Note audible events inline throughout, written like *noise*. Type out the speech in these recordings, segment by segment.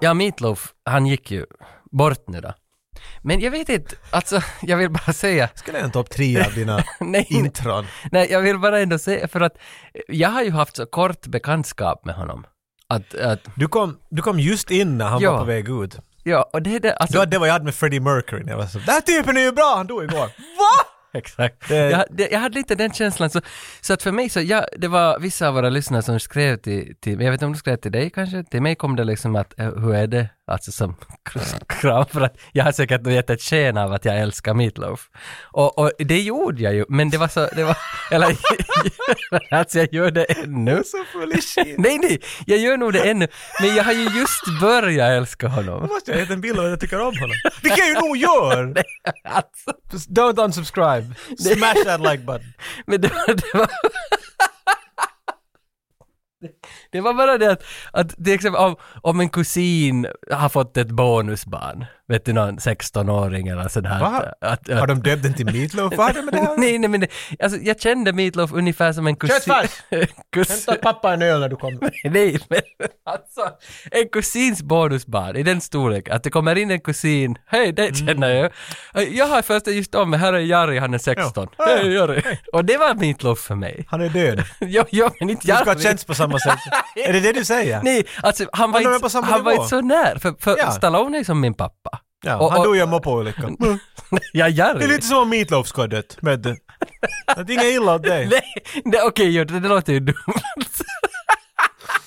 Ja, Meatloaf, han gick ju bort nu då. Men jag vet inte, alltså jag vill bara säga, *laughs* Skulle jag en topp tre av dina nej, nej, intron? nej, jag vill bara ändå säga, för att jag har ju haft så kort bekantskap med honom. Att, att Du kom, du kom just in när han Ja. var på väg ut. ja, och det är det, alltså, Du hade det var jag hade med Freddie Mercury när jag var så Den här typen är ju bra, han dog igår. Exakt. Det- Jag, det, jag hade lite den känslan. Så, så att för mig så, jag, det var vissa av våra lyssnare som skrev till, till, jag vet inte om de skrev till dig kanske, till mig kom det liksom att, eh, hur är det, alltså som *laughs* kram, för att jag har säkert nog gett ett sken av att jag älskar Meatloaf. Och, och det gjorde jag ju, men det var så, det var, *laughs* eller, alltså jag gör det ännu. så full i shit. Nej, nej, jag gör nog det ännu, men jag har ju just börjat älska honom. Då måste jag hitta en bild av att jag tycker om *laughs* honom. Vilket jag ju nog gör! Alltså. Just *laughs* Don't unsubscribe. Smash that like button. Men det var, det var Det var bara det att, att till exempel om, om en kusin har fått ett bonusbarn, vet du någon 16-åring eller sådär. Va? Att, Har att, de döpt den till Meatloaf? Vad har det med *laughs* det här? nej, nej, men det, alltså, jag kände Meatloaf ungefär som en kusin. Köttfärs! *laughs* kusin pappa en öl när du kommer. nej, men alltså en kusins bonusbarn i den storlek, att det kommer in en kusin, hej, Mm. det känner jag. Jag har första just om mig, här är Jari, han är 16. Ja. Ja, ja. Hej, Jari. Och det var Meatloaf för mig. Han är död. *laughs* Jo, jo, men inte Du ska ha Jarvi. känts på samma *laughs* sätt. Är det det du säger? Nej, alltså han var, Men de är på inte, samma han var nivå. inte så när, för, för Ja. Stallone är som min pappa. *laughs* Ja, Och- och- han Mm. dog i en moppeolycka. ja, Jarvi. Det är lite som om Meatloaf ska ha dött. *laughs* Med det. Att inget illa åt dig. Nej, nej, okej, jo, det, det låter ju dumt. *laughs*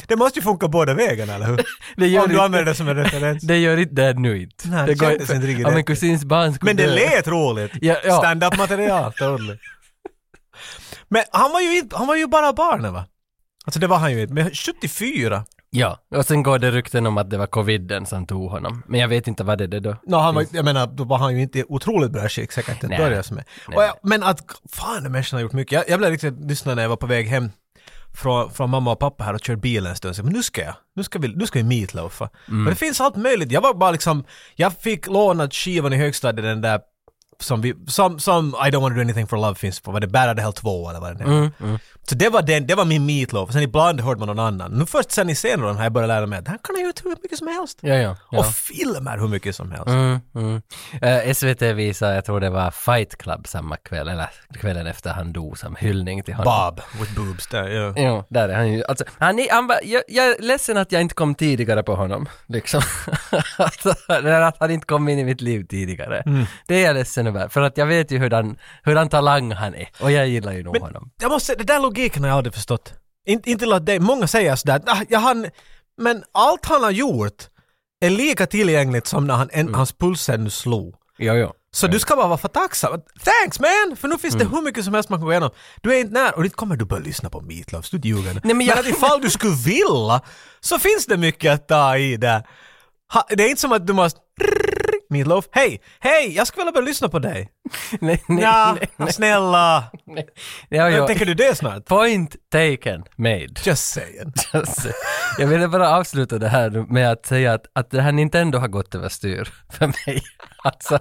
Det måste ju funka båda vägarna, eller hur? Det Om du inte- använder det som en referens. Det gör inte det nu inte. Nej, det kändes inte riktigt Om en rätt. kusins barn skulle Men det dö. lät roligt. Ja, ja. Stand-up material, *laughs* totally. Men han var ju inte, han var ju bara barn va? Alltså det var han ju inte, men 74? Ja, och sen går det rykten om att det var coviden som tog honom. Men jag vet inte vad det är det då. No, han var, jag menar, då var han ju inte i otroligt bra skick säkert till att Mm. Nej. börja med. Nej, Och jag, nej. men att, fan den människan har gjort mycket. Jag, jag blev riktigt lyssnad när jag var på väg hem från, från mamma och pappa här och körde bilen en stund. Så, men nu ska jag, nu ska vi, nu ska vi Mm. meatloafa. Men det finns allt möjligt. Jag var bara liksom, jag fick lånat skivan i högstadiet, den där som vi, som, som I don't want to do anything for love finns på, var det Bad Out of Hell 2 eller vad den heter? Mm, Så det var den, det var min meatloaf. Sen ibland hörde man någon annan. Nu först sen i senare åren har jag börjat lära mig att han kan ha gjort hur mycket som helst. Ja, ja. ja. Och filmer hur mycket som helst. Mm, mm. Eh, SVT visade, jag tror det var Fight Club samma kväll, eller kvällen efter han dog, som hyllning till honom. Bob with boobs där, ja. Ja, där är han ju. Alltså, han är, han var, jag, jag är ledsen att jag inte kom tidigare på honom. *laughs* Liksom. alltså, eller att han inte kom in i mitt liv tidigare. Det är jag ledsen över. För att jag vet ju hurdan, hurdan talang han är. Och jag gillar ju nog honom. Jag måste säga, det där logiken har jag aldrig förstått. In, inte till att det, många säger sådär, ah, jag han, men allt han har gjort är lika tillgängligt som när han, en, Mm. hans puls nu slog. Jo, jo. Så du ska bara vara för tacksam. Thanks man! För nu finns Mm. det hur mycket som helst man kan gå igenom. Du är inte nära, och inte kommer du börja lyssna på Meatloaf, så du ljuger nu. men jag- att ifall du skulle vilja, så finns det mycket att ta i där. Ha, det är inte som att du måste... Meatloaf, hej! Hej! Jag skulle vilja börja lyssna på dig. nej, nej, Ja, nej, snälla! nej. Jo, jo. Tänker du det snart? Point taken made. Just saying. Alltså, jag ville bara avsluta det här nu med att säga att, att det här Nintendo har gått överstyr för mig. *laughs* Alltså,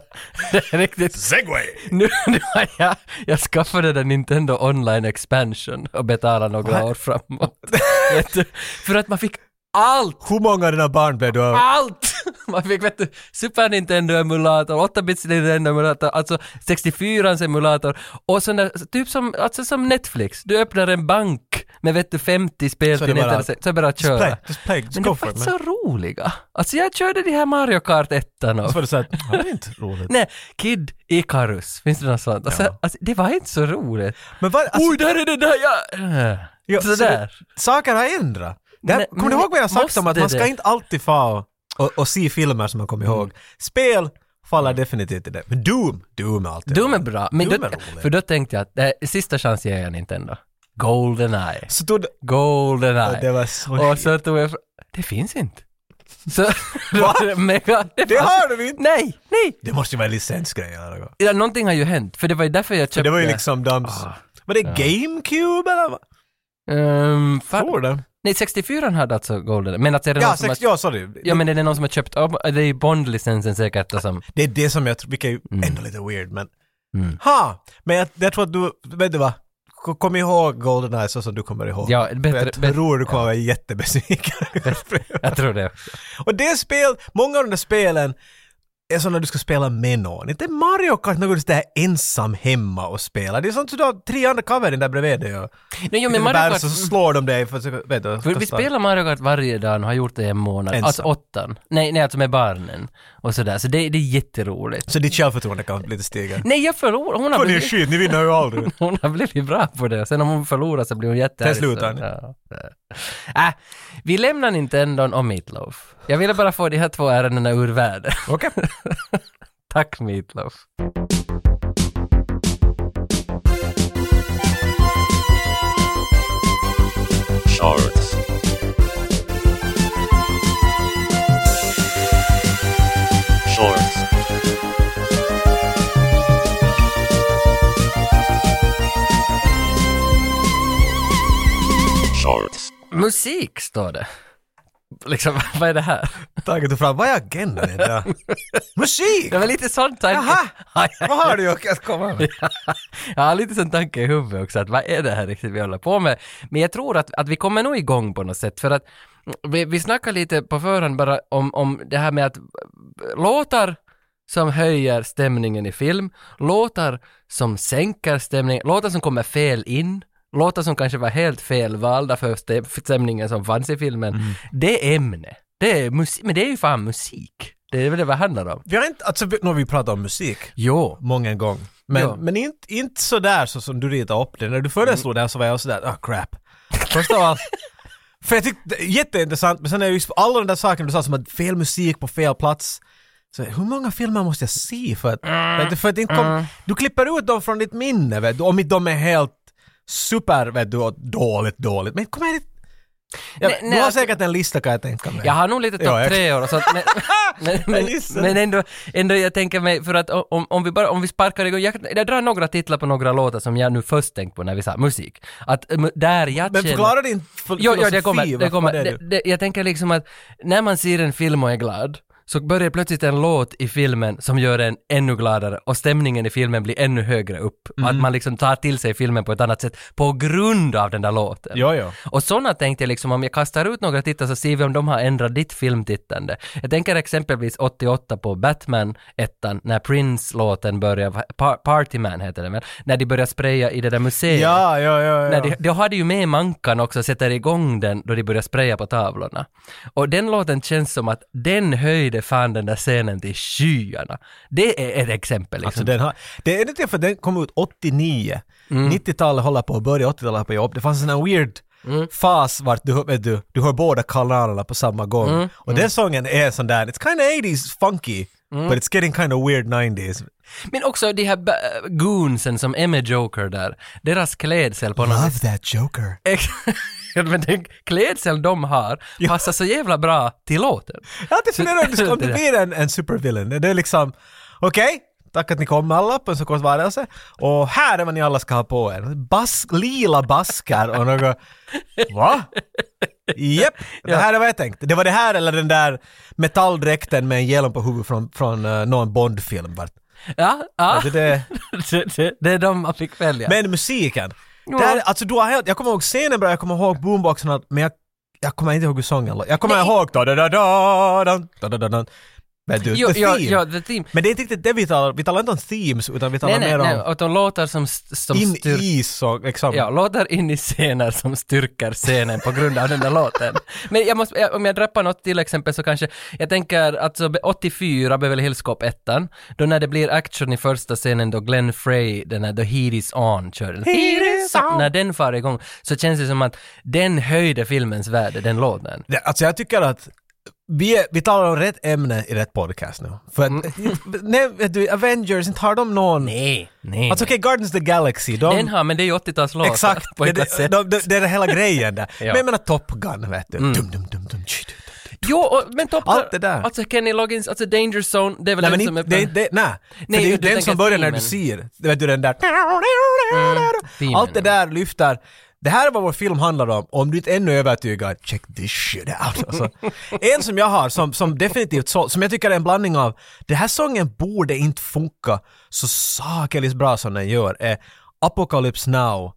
det är riktigt... Segway! Nu, *laughs* nu har jag, jag skaffade den Nintendo online expansion och betalade några år framåt. *laughs* vet du? För att man fick allt, Hur många av dina barn blev du av? allt! *laughs* Man fick vet du, Super Nintendo-emulator, 8-bits Nintendo-emulator, alltså 64ans emulator och sån där, typ som, alltså som Netflix. Du öppnar en bank med vet du 50 spel Så till det bara- Nintendo, så är det bara att Just play, köra. just play, just Men go de for var it. så man. roliga. Alltså jag körde de här Mario Kart 1 Så och var det såhär, det är inte roligt. Nej, Kid Icarus, finns det något sånt? Alltså, alltså, det var inte så roligt. Men vad, alltså, Oj, där är det där jag... Ja, så Sådär. saker har ändrat. Det här, Nej, kommer du men ihåg vad jag har sagt måste om att man ska det? Mm. inte alltid få och, och, och se filmer som man kommer ihåg? Spel faller definitivt i det. Men Doom, Doom är alltid Dum är roligt. bra, men Dum då, är rolig. för då tänkte jag att det här, sista chans ger jag Nintendo. Goldeneye. Så då, Goldeneye. det var så Och skit. så tog jag fr- Det finns inte. Så, *laughs* *laughs* Va? det, mega, Det har du inte! Nej, nej! Det måste ju vara licensgrejer eller något. Ja, någonting har ju hänt, för Typ det Ah. var ju därför jag köpte... Det var ju liksom de... Var det GameCube eller vad? Ehm, fan- Tror det. nej, 64 hade alltså Goldeneye, men alltså är det Ja, någon som har sex, ja sorry. Ja men är det någon som har köpt upp, det är ju Bond-licensen säkert då som... Det är det Mm. som jag tror, vilket är ju ändå lite weird men... Ha! Men jag, jag tror att du, vet du vad? K- Kom ihåg Goldeneye så som du kommer ihåg. Ja, bättre- För jag tror du kommer *laughs* vara jättebesviken. Jag tror *laughs* det. och det spel, många av de där spelen är sådana du ska spela med någon. Inte Mario Kart, när du sitter där ensam hemma och spelar. Det är sånt som du har tre andra kaverin där bredvid dig och Nej, jo, men men Mario Kart, så slår de dig för att, vet du, för vi kasta- spelar Mario Kart varje dag och har gjort det i en månad. Ensam. Alltså åttan. Nej, nej, alltså med barnen. Och sådär. Så det, det är jätteroligt. Så ditt självförtroende kan lite stiga. Nej, jag förlorar. Hon har Vad ni är blivit, *laughs* skit, ni vinner ju aldrig. hon har blivit bra på det. Sen om hon förlorar så blir hon jättearg. Sen slutar Så, ni. ja. Äh, vi lämnar Nintendon och Meatloaf. Jag ville bara få de här två ärendena ur världen. Okej. *laughs* Tack Meatloaf. Shorts. Shorts. Shorts. Musik står det. Liksom, *laughs* vad är det här? Taget du fram, vad är agendan *laughs* idag? Musik! Det var lite sån tanke. Jaha! *laughs* Ja, ja. Vad har du Jocke att komma med? Jag har lite sån tanke i huvudet också, att vad är det här riktigt vi håller på med? Men jag tror att, att vi kommer nog igång på något sätt, för att vi, vi snackade lite på förhand bara om, om det här med att låtar som höjer stämningen i film, låtar som sänker stämningen, låtar som kommer fel in, låtar som kanske var helt felvalda för stä- för stämningen som fanns i filmen. Det är ämne. Det är musik, men det är ju fan musik. Det är väl det vad det handlar om. Vi har inte, alltså, vi- nu har vi pratat om musik Jo. många gånger. Men, Ja. men inte, inte sådär så som du ritade upp det. När du föreslog det här så var jag sådär, ah crap. Först av allt. För jag tyckte, det är jätteintressant, men sen är ju alla de där sakerna du sa som att fel musik på fel plats. Så hur många filmer måste jag se för att, vet du, för att inte kom, Du klipper ut dem från ditt minne vet du, om inte de är helt super, vet du, och dåligt, dåligt. Men kom igen. Jag, Nej, du nej, har alltså- säkert en lista kan jag tänka mig. Jag har nog lite Ja, topp jag- tre år och sånt, men, *laughs* men, men, Jag gissar. men ändå, ändå jag tänker mig, för att om, om, vi, bara, om vi sparkar igång, jag, jag drar några titlar på några låtar som jag nu först tänkt på när vi sa musik. Att eh, där jag Men känner- förklara din f- Jo, jo, filosofi, det kommer. Det varför kommer. var Det, det du- det, jag tänker liksom att när man ser en film och är glad så börjar plötsligt en låt i filmen som gör en ännu gladare och stämningen i filmen blir ännu högre upp. Och Mm. Att man liksom tar till sig filmen på ett annat sätt på grund av den där låten. Ja, ja. Och sådana tänkte jag liksom, om jag kastar ut några tittare så ser vi om de har ändrat ditt filmtittande. Jag tänker exempelvis 88 på Batman ettan när Prince-låten börjar, pa- Partyman heter den väl, när de börjar spraya i det där museet. Ja, ja, ja. ja. Nej, de, de hade ju med Mankan också, sätter igång den då de börjar spraya på tavlorna. Och den låten känns som att den höjde fan den där scenen till skyarna. Det är ett exempel liksom. Alltså den har, det är inte för att den kom ut 89. Mm. 90-talet håller på att börja, 80-talet håller på att jobba. Det fanns en sån här weird Mm. fas vart du, hör- vet du, du hör båda kanalerna på samma gång. Mm. Och den sången är sån där, it's kind of 80s funky, Mm. but it's getting kind of weird 90s. Men också de här ba- goonsen som är med Joker där, deras klädsel på något Love that joker. Ex- *laughs* Men den klädsel de har passar så jävla bra till låten. Jag har alltid funderat om *laughs* det ska- om det blir en, en supervillain. Det är liksom, okej, tack att ni kom alla på en så kort varelse. Och här är vad ni alla ska ha på er. Bas, lila baskar och något... Va? Japp, det här är vad jag tänkte. Det var det här eller den där metalldräkten med en hjälm på huvudet från, från eh, någon Bond-film. vart. Ja, ja. Det, det, *laughs* Det, det, det är de man fick välja. men musiken. Där, alltså, du har helt, jag kommer ihåg scenen bra, jag kommer ihåg boomboxen, och allt, men jag, jag kommer inte ihåg hur sången låter. Jag kommer Nej. ihåg... Da, da, da, da, da, da, da, da, da. Vet du, jo, the ja, theme. ja, the theme. Men det är inte riktigt det vi talar vi talar inte om themes utan vi talar Nej, nej, mer nej. om Och de låtar som, st- som in styr... i så, liksom. Ja, låtar in i scener som styrker scenen på grund av den där låten. Men jag måste, jag- om jag drappar något till exempel så kanske, jag tänker alltså be- 84, Beverly Hills Cop 1, då när det blir action i första scenen då Glenn Frey, den här The Heat Is On kör den. Heat is on. När den far igång så känns det som att den höjde filmens värde, den låten. Det- Alltså jag tycker att vi, är, vi talar om rätt ämne i rätt podcast nu. För att, *laughs* nej, vet du, Avengers, inte har de någon... Mm. Nej, nej. Alltså okej, Guardians of the Galaxy, de... den har, men det är ju 80-talslåtar. Exakt, På det, ett det, annat sätt. de, de, det är den hela grejen där. *laughs* Ja. Mm. Men jag menar Top Gun, vet du. Dum, dum, dum, dum, tji, dum. Jo, och, men topp... Allt det där. Alltså Kenny Loggins, alltså Danger Zone, det är väl Nej, den men som inte, är... det, är inte- det, nej. För det är du ju den tänker Mm, som börjar när du teamen. ser, vet du den där... teamen, Allt det ja. där lyfter. Det här är vad vår film handlar om, om du inte ännu är övertygad, check this shit out. Alltså. en som jag har, som, som definitivt, så, som jag tycker är en blandning av, den här sången borde inte funka så sakeligt bra som den gör, är Apocalypse Now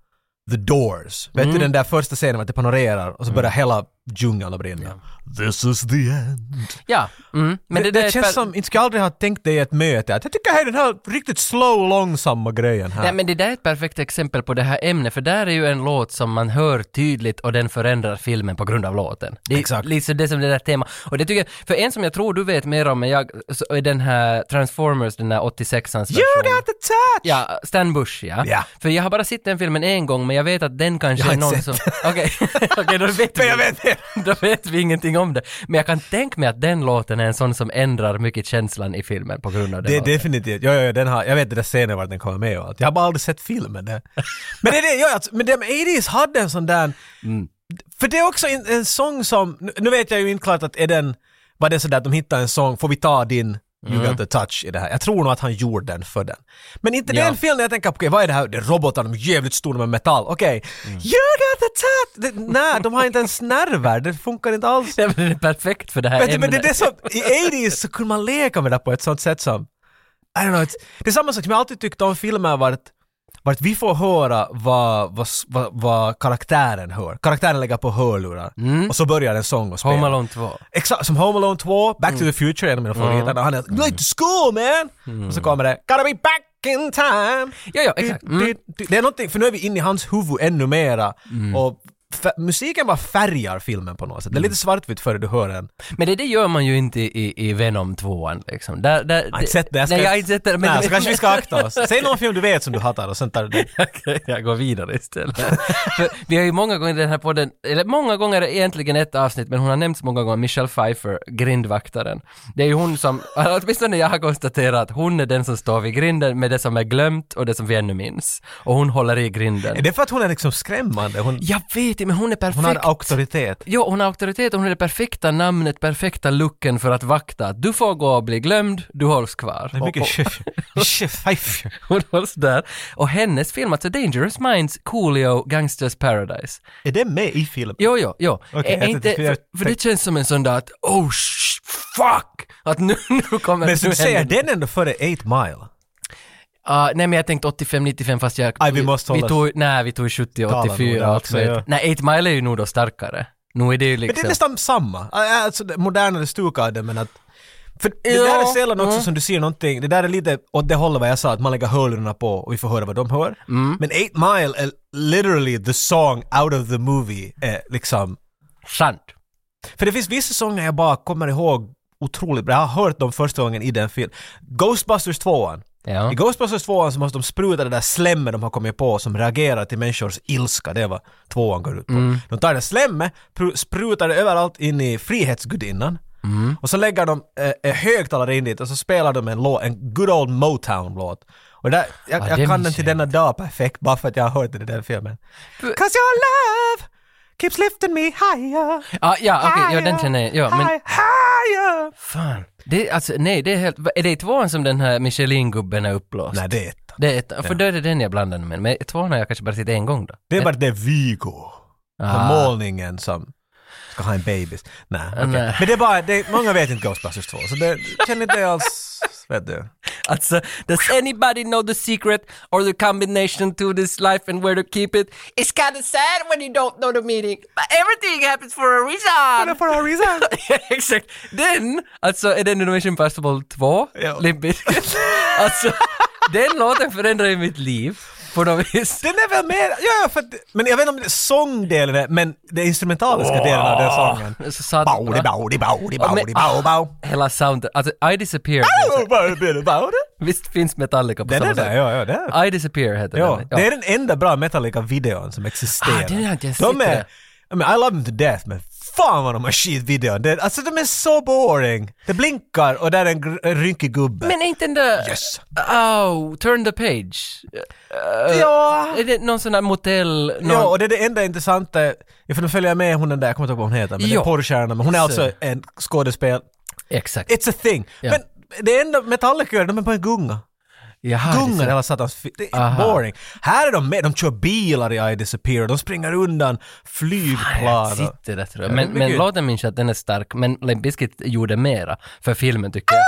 The Doors. Vet Mm. du den där första scenen att det panorerar och så börjar hela djungeln att brinna. This is the end. Ja, mm. men det, det, där är känns ett- som, inte ska jag aldrig ha tänkt det i ett möte, att jag tycker hej den här riktigt slow, långsamma grejen här. Nej men det där är ett perfekt exempel på det här ämnet, för där är ju en låt som man hör tydligt och den förändrar filmen på grund av låten. Det är Exakt. liksom det som det där temat. Och det tycker jag, för en som jag tror du vet mer om än jag, så är den här Transformers, den där 86ans version. you got the touch! Ja, Stan Bush ja. Ja. För jag har bara sett den filmen en gång, men jag vet att den kanske Jag har är någon inte som... *laughs* Okej, Okej, då vet Men vi- jag vet det! *laughs* Då vet vi ingenting om det. Men jag kan tänka mig att den låten är en sån som ändrar mycket känslan i filmen på grund av den Det är låten. *laughs* definitivt, ja, ja, ja, den har, jag vet den där scenen var den kommer med och allt. Jag har bara aldrig sett filmen. Där. Men det är det, ja, alltså, men de 80s hade en sån där... För det är också en, en sång som, nu- nu vet jag ju inte klart att är den, var det sådär att de hittade en sång, får vi ta din You got the touch i det här. Jag tror nog att han gjorde den för den. Men inte Ja. den filmen jag tänker på, okej vad är det här, det är robotar, de är jävligt stora med metall, okej. You got the touch! Det, nej, de har inte ens nerver, det funkar inte alls. Nej, men Den är perfekt för det här Men, det- men det är ämnet. det som, i 80s så kunde man leka med det på ett sånt sätt som, I don't know, it's, det är samma sak som jag alltid tyckte om filmer vart, vart vi får höra vad, vad, vad, vad karaktären hör. Karaktären lägger på hörlurar och så börjar en sång och Mm. Home spela. Alone Mm. 2. Exakt, som Home Alone 2, Back to the Future, en av mina favoriter. Och Han är Mm. “Going to school man!” och så kommer det “Gotta be back in time!” Ja, ja, exakt. Mm. Mm. Det, det, det är någonting, för nu är vi inne i hans huvud ännu mera. Och fär, musiken bara färgar filmen på något sätt. Det är lite svartvitt före du hör den. Men det, det gör man ju inte i, i Venom 2 liksom. Där, där, jag har inte sett det, jag ska- Nej, jag har inte sett det. Men Nej, så kanske vi ska *laughs* akta oss. Säg någon film du vet som du hatar och sen tar du den. Okej, jag går vidare istället. För vi har ju många gånger i den här podden, eller många gånger är egentligen ett avsnitt, men hon har nämnts många gånger, Michelle Pfeiffer, grindvaktaren. Det är ju hon som, *laughs* åtminstone jag har konstaterat, hon är den som står vid grinden med det som är glömt och det som vi ännu minns. Och hon håller i grinden. Är det för att hon är liksom skrämmande? Hon, Jag vet inte, men hon är perfekt. hon har auktoritet. Jo, hon har auktoritet och hon är det perfekta namnet, perfekta looken för att vakta. Du får gå och bli glömd, du hålls kvar. Det är mycket och, chef. *laughs* Chef. och, hon hålls där. Och hennes film, alltså Dangerous Minds, Coolio, Gangsters Paradise. Är det med i filmen? Jo, jo, jo. Okej, Ä- jag inte, tänkte- jag för, för det känns som en sån där att oh sh- fuck! Att nu, *laughs* nu kommer... Men så nu du säger händer den ändå före 8 Mile. Ah, nej men jag tänkte 85-95 fast jag... Aj, vi måste vi hålla- tog, Nej, vi tog Talar nog 70-84 där också. också, ja. Nej, 8 Mile är ju nog då starkare. Nu är det ju Men det är liksom... nästan samma. Alltså det modernare stuk av det men att... För det Ja. där är sällan också Mm. som du ser någonting, det där är lite åt det hållet vad jag sa att man lägger hörlurarna på och vi får höra vad de hör. Mm. Men 8 Mile är literally the song out of the movie, eh, liksom. Sant. För det finns vissa sånger jag bara kommer ihåg otroligt bra. Jag har hört dem första gången i den filmen. Ghostbusters 2 Ja. I Ghostbusters 2 så måste de spruta det där slemmet de har kommit på som reagerar till människors ilska. Det är vad tvåan går ut på. Mm. De tar det slemmet, pru- sprutar det överallt in i Frihetsgudinnan. Mm. Och så lägger de eh, eh, högtalare in dit och så spelar de en låt, en good old Motown-låt. Och där, jag, Ah, jag den kan den minns till jag denna dag perfekt bara för att jag har hört den i den filmen. Cause your love keeps lifting me higher. Ah, ja, okej, ja, den känner jag. Ja, men Higher! fan. Det, är alltså, nej, det är helt... Är det i tvåan som den här Michelin-gubben är uppblåst? Nej, det är ett. Det är, ett- för då är det den jag blandar med. Men tvåan har jag kanske bara sett en gång då. Det är bara det Vigo. Ah. Ah. Målningen som ska ha en bebis. Nej, okej. nej. Men det är bara, det, många vet inte Ghostbusters 2, så det känner inte alls, vet du. Alltså, does anybody know the secret or the combination to this life and where to keep it? It's kinda sad when you don't know the meaning, but everything happens for a *laughs* reason! For a reason. Exakt! Den, alltså är den Innovation Festival 2, Ja. Limp *laughs* Bizkit. Alltså, den låten förändrar ju mitt liv på något vis. Den är väl mer, ja, ja, för att, men jag vet inte om det är sångdelen, är- men det instrumentaliska delen av den sången. Det är Så satan bra. Baudi, baudi, baudi, Ja, men- baudi, bau, bau. Hela soundet, alltså I Disappear, Baudi, baudi, baudi. visst finns Metallica på Den samma är där, sätt? ja, ja, den. I Disappear heter Ja, den. det är den enda bra Metallica-videon som existerar. Ah, den har inte jag de sett, är, det. I, mean, I love them to death, men fan vad de har skitvideon. Det, alltså de är så boring. Det blinkar och där är en, gr- en rynkig gubbe. Men är inte den där... Yes. Oh, turn the page. ja. Är det någon sån där motell? Någon... ja, och det är det enda intressanta, jag får följa med hon den där, jag kommer inte ihåg vad hon heter, men Ja. den porrstjärnan, men hon är alltså en skådespel. Exakt. It's a thing. Ja. Men det enda Metallica gör, de är på en gunga. Jaha, Ah, det Gungar är så- hela satans fi- Det är Aha. boring. Här är de med, de kör bilar i I Disappear, de springer undan flygplan. och- Sitter där tror jag. Men, men men gud. låten minns jag att den är stark, men Limp Bizkit gjorde mera för filmen tycker jag.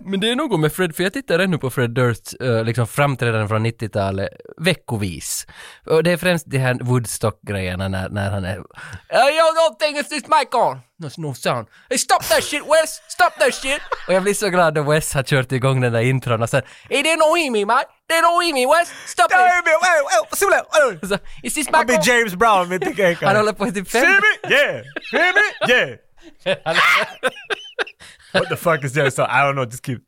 Men det är något med Fred, för jag tittar ännu på Fred Dursts eh, liksom framträdanden från 90-talet veckovis. Och det är främst de här Woodstock-grejerna när, när han är... "I don't know thing is this mic on! No, no sound. Hey, stop that shit Wes! Stop that shit! Och jag blir så glad när Wes har kört igång den där intron och sen... Hey, they know him, man! They know him, Wes! Stop it! Så, is this I'll mic be on? James Brown mitt i Han kekan. håller på i typ See fem... me? Yeah! Hear me? Yeah! *laughs* What the fuck is that? So I don't know, just keep...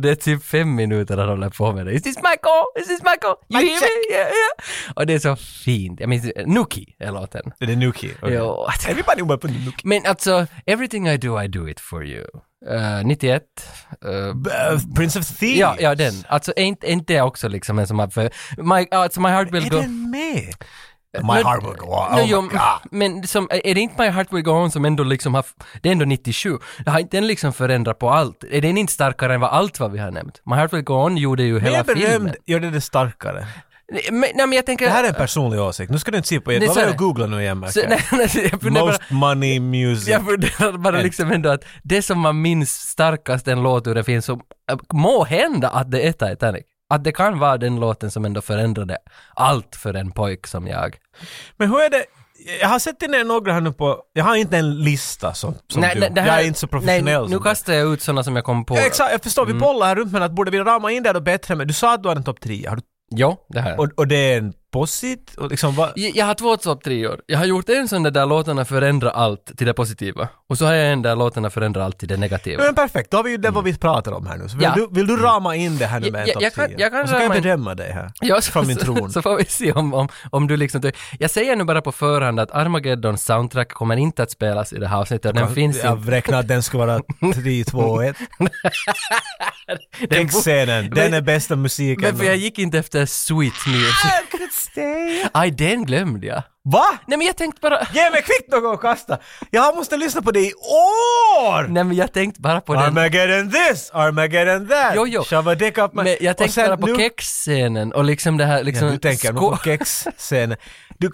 *laughs* Det är typ fem minuter han håller på med det. Is this Michael? Is this Michael? You Mic hear me? Yeah, yeah. Och det är så fint. Jag minns, eh, Nuki är låten. Det är Nuki. okej. Jo. Everybody went på Nuki. Men alltså, everything I do, I do it for you. Eh, 91. eh, B- uh, Prince of Thieves. ja, ja, den. Alltså, är inte, är inte det också liksom en som har för... My, alltså, my heart will Är go... den med? Men- My heart will go on. No, Oh jo, my god. Men som, är det inte My Heart Will Go On som ändå liksom har, det är ändå 97, det har inte den liksom förändrat på allt? Är den inte starkare än vad allt vad vi har nämnt? My Heart Will Go On gjorde ju Men hela jag filmen. berömd gjorde det starkare. Nej, Men, nej, men jag tänker... Det här är en personlig åsikt. Nu ska du inte se på er. Nej, Vad så var är jag det. googla nu igen, Så, märker *laughs* jag. nej, nej, jag funderar bara, Most money music. jag funderar bara Ed. liksom ändå att det som man minns starkast en låt ur en film så äh, må hända att det är Titanic. Att det kan vara den låten som ändå förändrade allt för en pojk som jag. Men hur är det? Jag har sett ner några här nu på... Jag har inte en lista som, som du. det här- jag är inte så professionell Nej, nu Mm. som kastar jag ut sådana som jag kom på. Ja, exakt, jag förstår, vi bollar här runt men att borde vi rama in det då bättre? Men du sa att du hade en topp 10, har du, Ja, det här. och, och det är en posit? Och liksom, vad- Jag jag har två topp treor. Jag har gjort en sån där, där låtarna förändrar allt till det positiva. Och så har jag en där låtarna förändrar allt till det negativa. men perfekt, då har vi ju det vad vi pratar om här nu. Så vill, Mm. Ja. Mm. du, vill du rama in det här nu Ja, med ja, en topp jag kan- 10? jag kan och så kan rama jag in- bedöma dig här. Ja, så, från min så- tron. Så får vi se om, om, om du liksom... Jag säger nu bara på förhand att Armageddons soundtrack kommer inte att spelas i det här avsnittet. Den finns inte. jag räknar att den *laughs* ska vara 3, 2, 1. Den Textscenen, den är bästa musiken. Men för jag gick inte efter sweet music. I could stay. Aj, den glömde jag. Va? Nej men jag tänkte bara... Ge mig kvickt något att kasta! Jag måste lyssna på det i år! Nej men jag tänkte bara på den. Armageddon this, Armageddon that. Jo, jo. Shove a dick up my... Men jag Och sen tänkte bara på nu- kexscenen och liksom det här liksom... Ja, du tänker nog skå- på kexscenen. Du,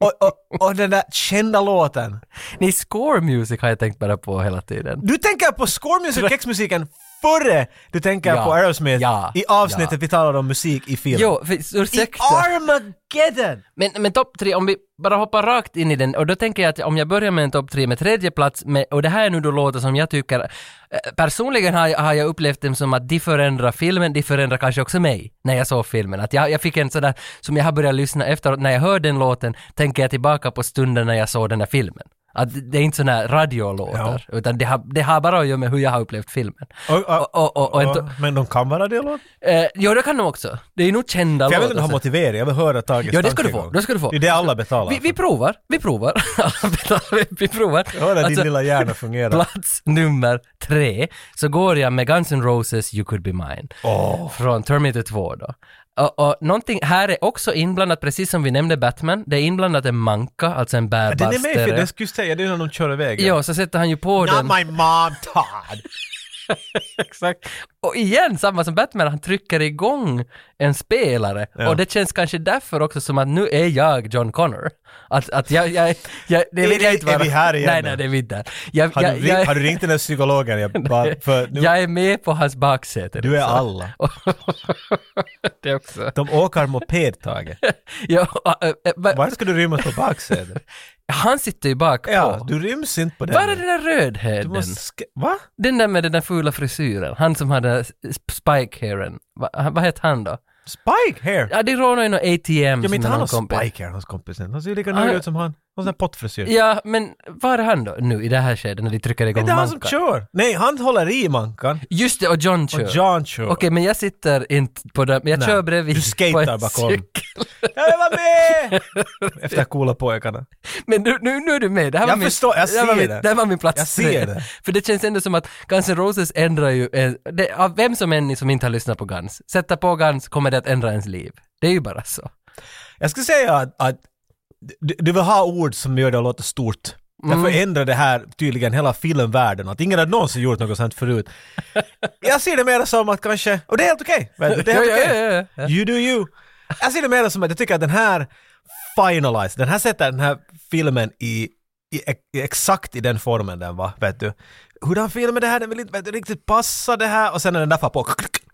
och, och, och den där kända låten. Nej, score music har jag tänkt bara på hela tiden. Du tänker på score music, kexmusiken före du tänker Ja. på Aerosmith Ja. i avsnittet vi talade om musik i film. Jo, för, I ursäkta. Armageddon! Men, men topp tre, om vi bara hoppar rakt in i den, och då tänker jag att om jag börjar med en topp tre med tredje plats, med, och det här är nu då låtar som jag tycker, eh, personligen har, jag- har jag upplevt dem som att de förändrar filmen, de förändrar kanske också mig, när jag såg filmen. Att jag, jag fick en sådär, som jag har börjat lyssna efteråt, när jag hör den låten, tänker jag tillbaka på stunden när jag såg den där filmen. Att det är inte sådana här radiolåtar, utan det har, det har bara att göra med hur jag har upplevt filmen. Och- och- och, och, och en to- Ja, men de kan vara det låt. eh, ja, det kan de också. Det är nog kända För jag vill låtar. inte ha så- motivering, jag vill höra Tages Ja, alltså. det ska du få, tankegång. det ska du få. Det är det alla betalar. Vi, vi provar, vi provar. *laughs* Alla betalar, vi- vi provar. Jag hör att Alltså, din lilla hjärna fungerar. plats nummer tre så går jag med Guns N' Roses You Could Be Mine. Åh. Från Terminator 2 då. Och, och någonting här är också inblandat, precis som vi nämnde Batman, det är inblandat en manka, alltså en bärbar Den är med, för stereo. jag skulle säga det är när de kör iväg. Ja, så sätter han ju på Not den. my mom, Todd! *laughs* Exakt. Och igen, samma som Batman, han trycker igång en spelare. Ja. Och det känns kanske därför också som att nu är jag John Connor. Att, att jag, jag, jag, det vill Är- jag inte är- är vara. vi här igen Nej, nu? nej, det är vi inte. Jag, Har, jag, du, ring- jag, har du ringt den där psykologen? Jag bara, *laughs* för nu, jag är med på hans baksäte. du är liksom. *laughs* alla. det också. De åker moped, Tage. Ja, äh, äh, men Varför ska du rymma på *laughs* baksätet? han sitter ju bakpå. Ja, du ryms inte på den. Var är den där Du rödhäden? måste sk- va? Den där med den där fula frisyren. Han som hade spike-hairen. Va, han- vad hette han då? Spike hair! Ja, det rånade ju något ATM Ja, men som inte någon han har kompis. spike hair, hans kompis. Han ser ju lika Ah, nöjd ja. ut som han. Han har sån här pottfrisyr. Ja, men var är han då nu i det här skedet när de trycker typ. igång Det är inte han som mankan? kör! Nej, han håller i mankan. Just det, och John kör. Och John kör. Okej, men jag sitter inte på den, men jag Nej, kör bredvid. du skatar på en bakom. cykel. Jag vill vara *laughs* med! Efter coola pojkarna. Men nu, nu, nu är du med. Det här Jag var min, förstår, jag det här var ser min, det. här var min plats Jag ser tre. det. *laughs* För det känns ändå som att Guns N' Roses ändrar ju, eh, det, av vem som än är som inte har lyssnat på Guns, sätta på Guns kommer det att ändra ens liv. Det är ju bara så. Jag skulle säga att, att du, du vill ha ord som gör det att låta stort. Mm. Därför ändrar det här tydligen hela filmvärlden. Att ingen hade någonsin gjort något *laughs* sånt förut. Jag ser det mer som att kanske, och det är helt okej. vet du, det är helt Ja, okej. ja, ja, ja. You do you. Jag ser det mer som att jag tycker att den här finalized, den här sätter den här filmen i i, i, exakt i den formen den var, vet du. Hurdan film är det här? Den vill inte vet du, riktigt passa det här. Och sen när den där far på,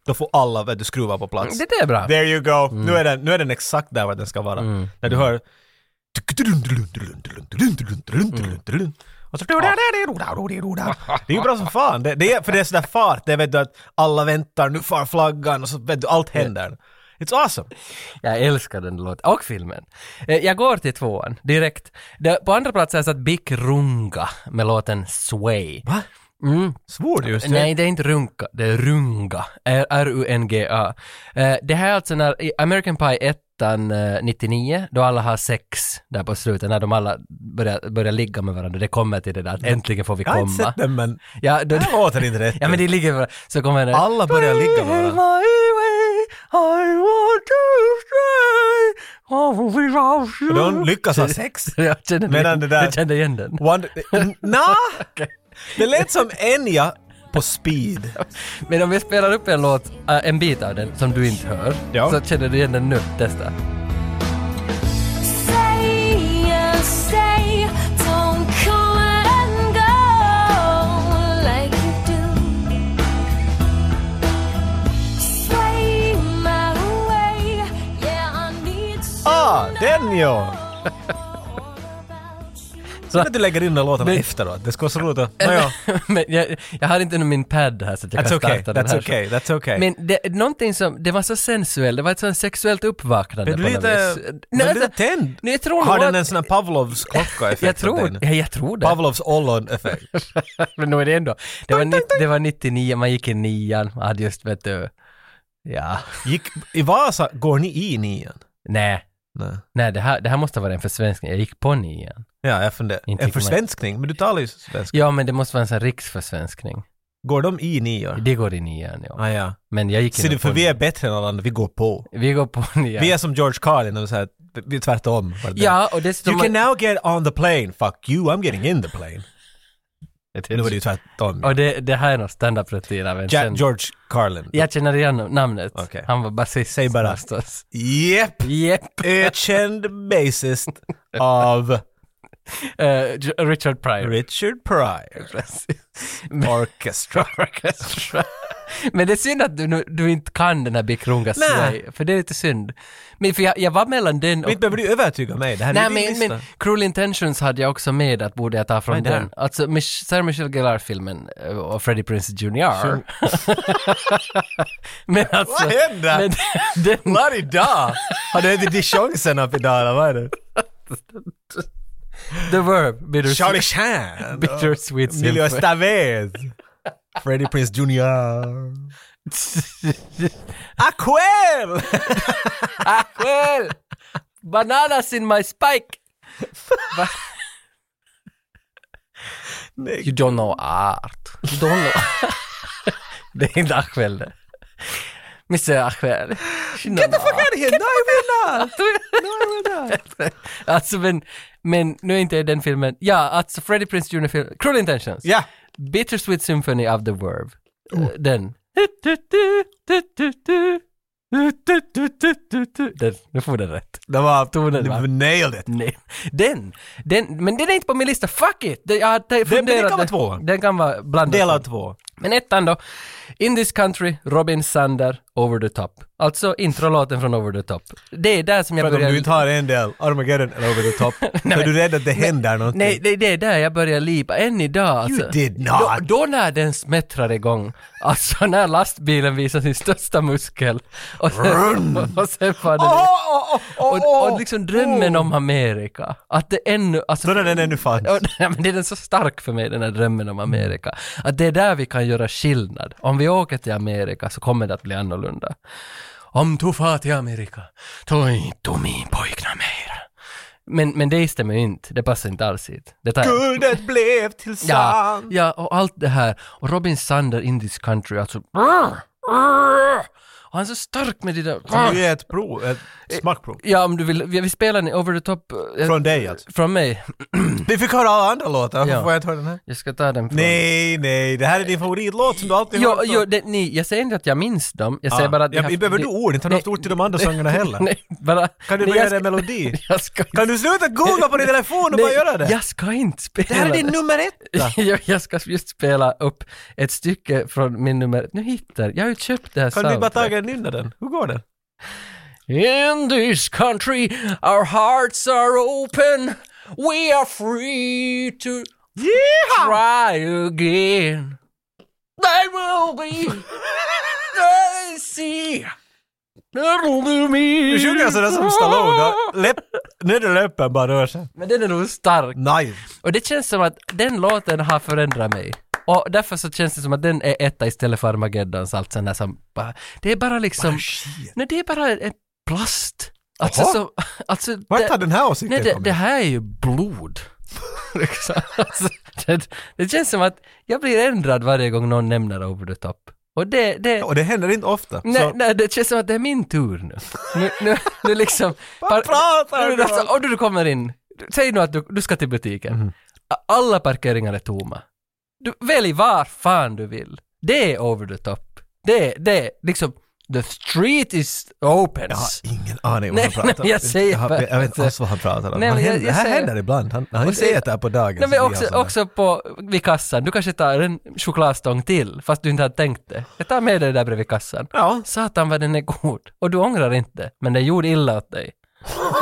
då får alla vet du, skruvar på plats. Det där är bra. There you go! Nu, är den, nu är den exakt där var den ska vara. Mm. När du hör... Och så... Det är ju bra som fan. Det, det är, för det är sådär fart. Det är vet du att alla väntar, nu far flaggan och så vet du, allt händer. It's awesome! Jag älskar den låten. Och filmen. Eh, Jag går till tvåan direkt. Där- På andra plats har jag satt Bic Runga med låten Sway. Va? Mm. Svor du just det? Nej, det är inte runka, det är runga. R- R-U-N-G-A. Eh, det här är alltså när i American Pie 1 eh, 99, då alla har sex där på slutet, när de alla börjar, börjar ligga med varandra. Det kommer till det där att äntligen får vi Jag har inte komma. sett den men Ja, då, det här låter inte rätt. ja men det ligger med Så kommer det. Alla börjar ligga med varandra. My way, I want to stay. Oh, we love you. De lyckas ha sex. Jag kände, Medan det där- jag kände igen den. Wonder... *laughs* Nja! Det lät som Enya på speed. Men om vi spelar upp en låt, äh, en bit av den, som du inte hör, Ja. så känner du igen den nu. Testa. *laughs* Stay and stay, don't come and go like you do. Sway my way, yeah, I need to *laughs* Ah, den ja! know all about you. Så att du lägger in den låten efteråt. Det ska vara så roligt *laughs* att... Nåja, Men jag, jag har inte min pad här så att jag that's kan okay, starta den här. that's okay, that's okay. Men det, någonting som, det var så sensuellt, det var ett sånt sexuellt uppvaknande Är du på lite... något vis. Nej, är du alltså, lite tänd? nej, jag tror Har nog den att- en sån här Pavlovs klocka-effekt? jag på tror, den? ja, jag tror det. Pavlovs ollon-effekt. Men nog är det ändå. Det var, nitt- det var 99, man gick i nian, man hade just vet du, ja, Gick... I Vasa går ni i nian? nej. Nej. Nej, det här, det här måste vara en försvenskning. Jag gick på nian. Ja, jag funderar. Inte En gick man- försvenskning? Men du talar ju svenska. Ja, men det måste vara en sån riksförsvenskning. Går de i nior? Det går i nian, ja. Ah, ja. Men jag gick Ser ändå du, för på vi är nian. bättre än alla andra, vi går på. Vi går på nian. Vi är som George Carlin, och så här, vi är tvärtom. Ja, och dessutom... You can now get on the plane, fuck you, I'm getting in the plane. Nu var det ju tvärtom. Och det, det här är någon standardrutin av en Ja, känd- George Carlin. Jag känner igen namnet. Okej. Han var basist. Säg bara. någonstans. Jep! Japp. Ökänd basist av Eh, J- Richard Pryor. Richard Pryor Precis. Orchestra. Orchestra. *laughs* Men det är synd att du, nu- du inte kan den här Bic Rungas Nej. Sway, för det är lite synd. Men för jag, jag var mellan den och... Inte behöver du övertyga mig, det här Nej är din men, lista. men Cruel Intentions hade jag också med att borde jag ta från Vad är det? den. Alltså Mich- Sarah Michelle Gellar-filmen eh, och Freddie Prinze Jr. *laughs* men alltså... Vad händer? Men, *laughs* den, idag! Har du ätit dijonsenap idag eller vad är det? the Verb, Bitter, Charlie Chan! bitter Sweet Emilio Symphony. Estevez! Freddie Prinze Jr. Aquel! Well, bananas in my spike. Nej, You don't know art. You don't know. *laughs* det är inte Achwell det. Mr Achwell. Get the fuck out of here! No, I will not! alltså men, men nu är inte den filmen, ja alltså Freddie Prinze Jr. film, Cruel Intentions. Ja! Bittersweet Symphony of the Verb. Eh, Den. Den, nu får den rätt. Det var... Tonen, du va? nailed it! Nej. Den, den, men den är inte på min lista, fuck it! Det- Jag hade funderat... men det kan vara tvåan. Den kan vara blandad. Del av två. Men ettan då. In this country, Robin Sander, Over the Top. Alltså introlåten från Over the Top. Det är där som jag För om börjar... du inte har en del, Armageddon eller Over the Top, så är du rädd att det händer någonting. Nej, det, det är där jag börjar lipa. Än idag alltså. did not. Då, då när den smättrar igång. Alltså när lastbilen visar sin största muskel. Och sen, och sen far den ut. oh, och, och liksom drömmen om Amerika. Att det ännu... Alltså, Då när den *laughs* ännu fanns. Ja, nej, men det är den så stark för mig, den här drömmen om Amerika. Att det är där vi kan göra skillnad. Om vi åker till Amerika så kommer det att bli annorlunda. Om du far till Amerika, ta inte min pojknamn mer. Men, men det stämmer ju inte, det passar inte alls hit. Det tar jag. Guldet blev till Ja, sand. ja, och allt det här. Och Robin Sander in this country, alltså... brr, brr. Han är så stark med det där. Kan du ge ett prov? Eh, Ett smakprov? Ja, om du vill. Vi vi spelar den i Over the Top. eh, Från dig alltså? Från mig. Vi fick höra alla andra låtar, varför Ja. får jag inte höra den här? Jag ska ta den från... Nej, nej, det här är din favoritlåt som du alltid Jo, hört. jo, det, ni, jag säger inte att jag minns dem. Jag säger Ja. bara att... Ah. ja, har- vi behöver du ord, inte har du haft Nej. ord till de andra sångerna *laughs* heller. Nej, bara... Kan du Nej, jag bara göra en ska- melodi? *laughs* Jag ska inte... Kan du sluta googla på din telefon och bara Nej, göra det? Jag ska inte spela Det här är din nummer *laughs* ett! jag, jag ska just spela upp ett stycke från min nummer... Nu hittar jag har ju köpt det här Kan du bara soundtracket. ta en nynna den? Hur går den? In this country our hearts are open We are free to try again They will *laughs* be They see That'll do me Du sjunger sådär som Stallone, läpp, nederläppen bara rör sig. Men den är nog stark Nej. Och det känns som att den låten har förändrat mig. Och därför så känns det som att den är etta istället för Armageddons, allt sånt där som bara, Det är bara Oh, liksom... Nej, det är bara en plast. Alltså, Jaha. så, alltså Vart har det, den här åsikten nej, det, kommit? det här är ju *laughs* blod. Liksom. alltså, *laughs* det, det känns som att jag blir ändrad varje gång någon nämner Over the Top. Och det... det Och det händer inte ofta. Nej, så, nej, det känns som att det är min tur nu. Nu, nu, nu liksom... *laughs* Vad pratar nu, du nu, om? Mhm. alltså, Om du kommer in, du- säg nu att du, du ska till butiken. Alla parkeringar är tomma. Du, välj var fan du vill. Det är over the top. Det, det, liksom, the street is Jag har opens. ingen aning om Nej, vad han pratar om. nej, jag säger jag, har- bara- jag vet inte alls vad han pratar om. Nej, han men jag- händer, jag det här säger- händer ibland. Han, han Och inte sen- äter på dagen. Nej, så vi men har också, sådana. också på, vid kassan, du kanske tar en chokladstång till fast du inte hade tänkt det. Jag tar med dig där bredvid kassan. Ja, Satan vad den är god. Och du ångrar inte, men den gjorde illa åt dig.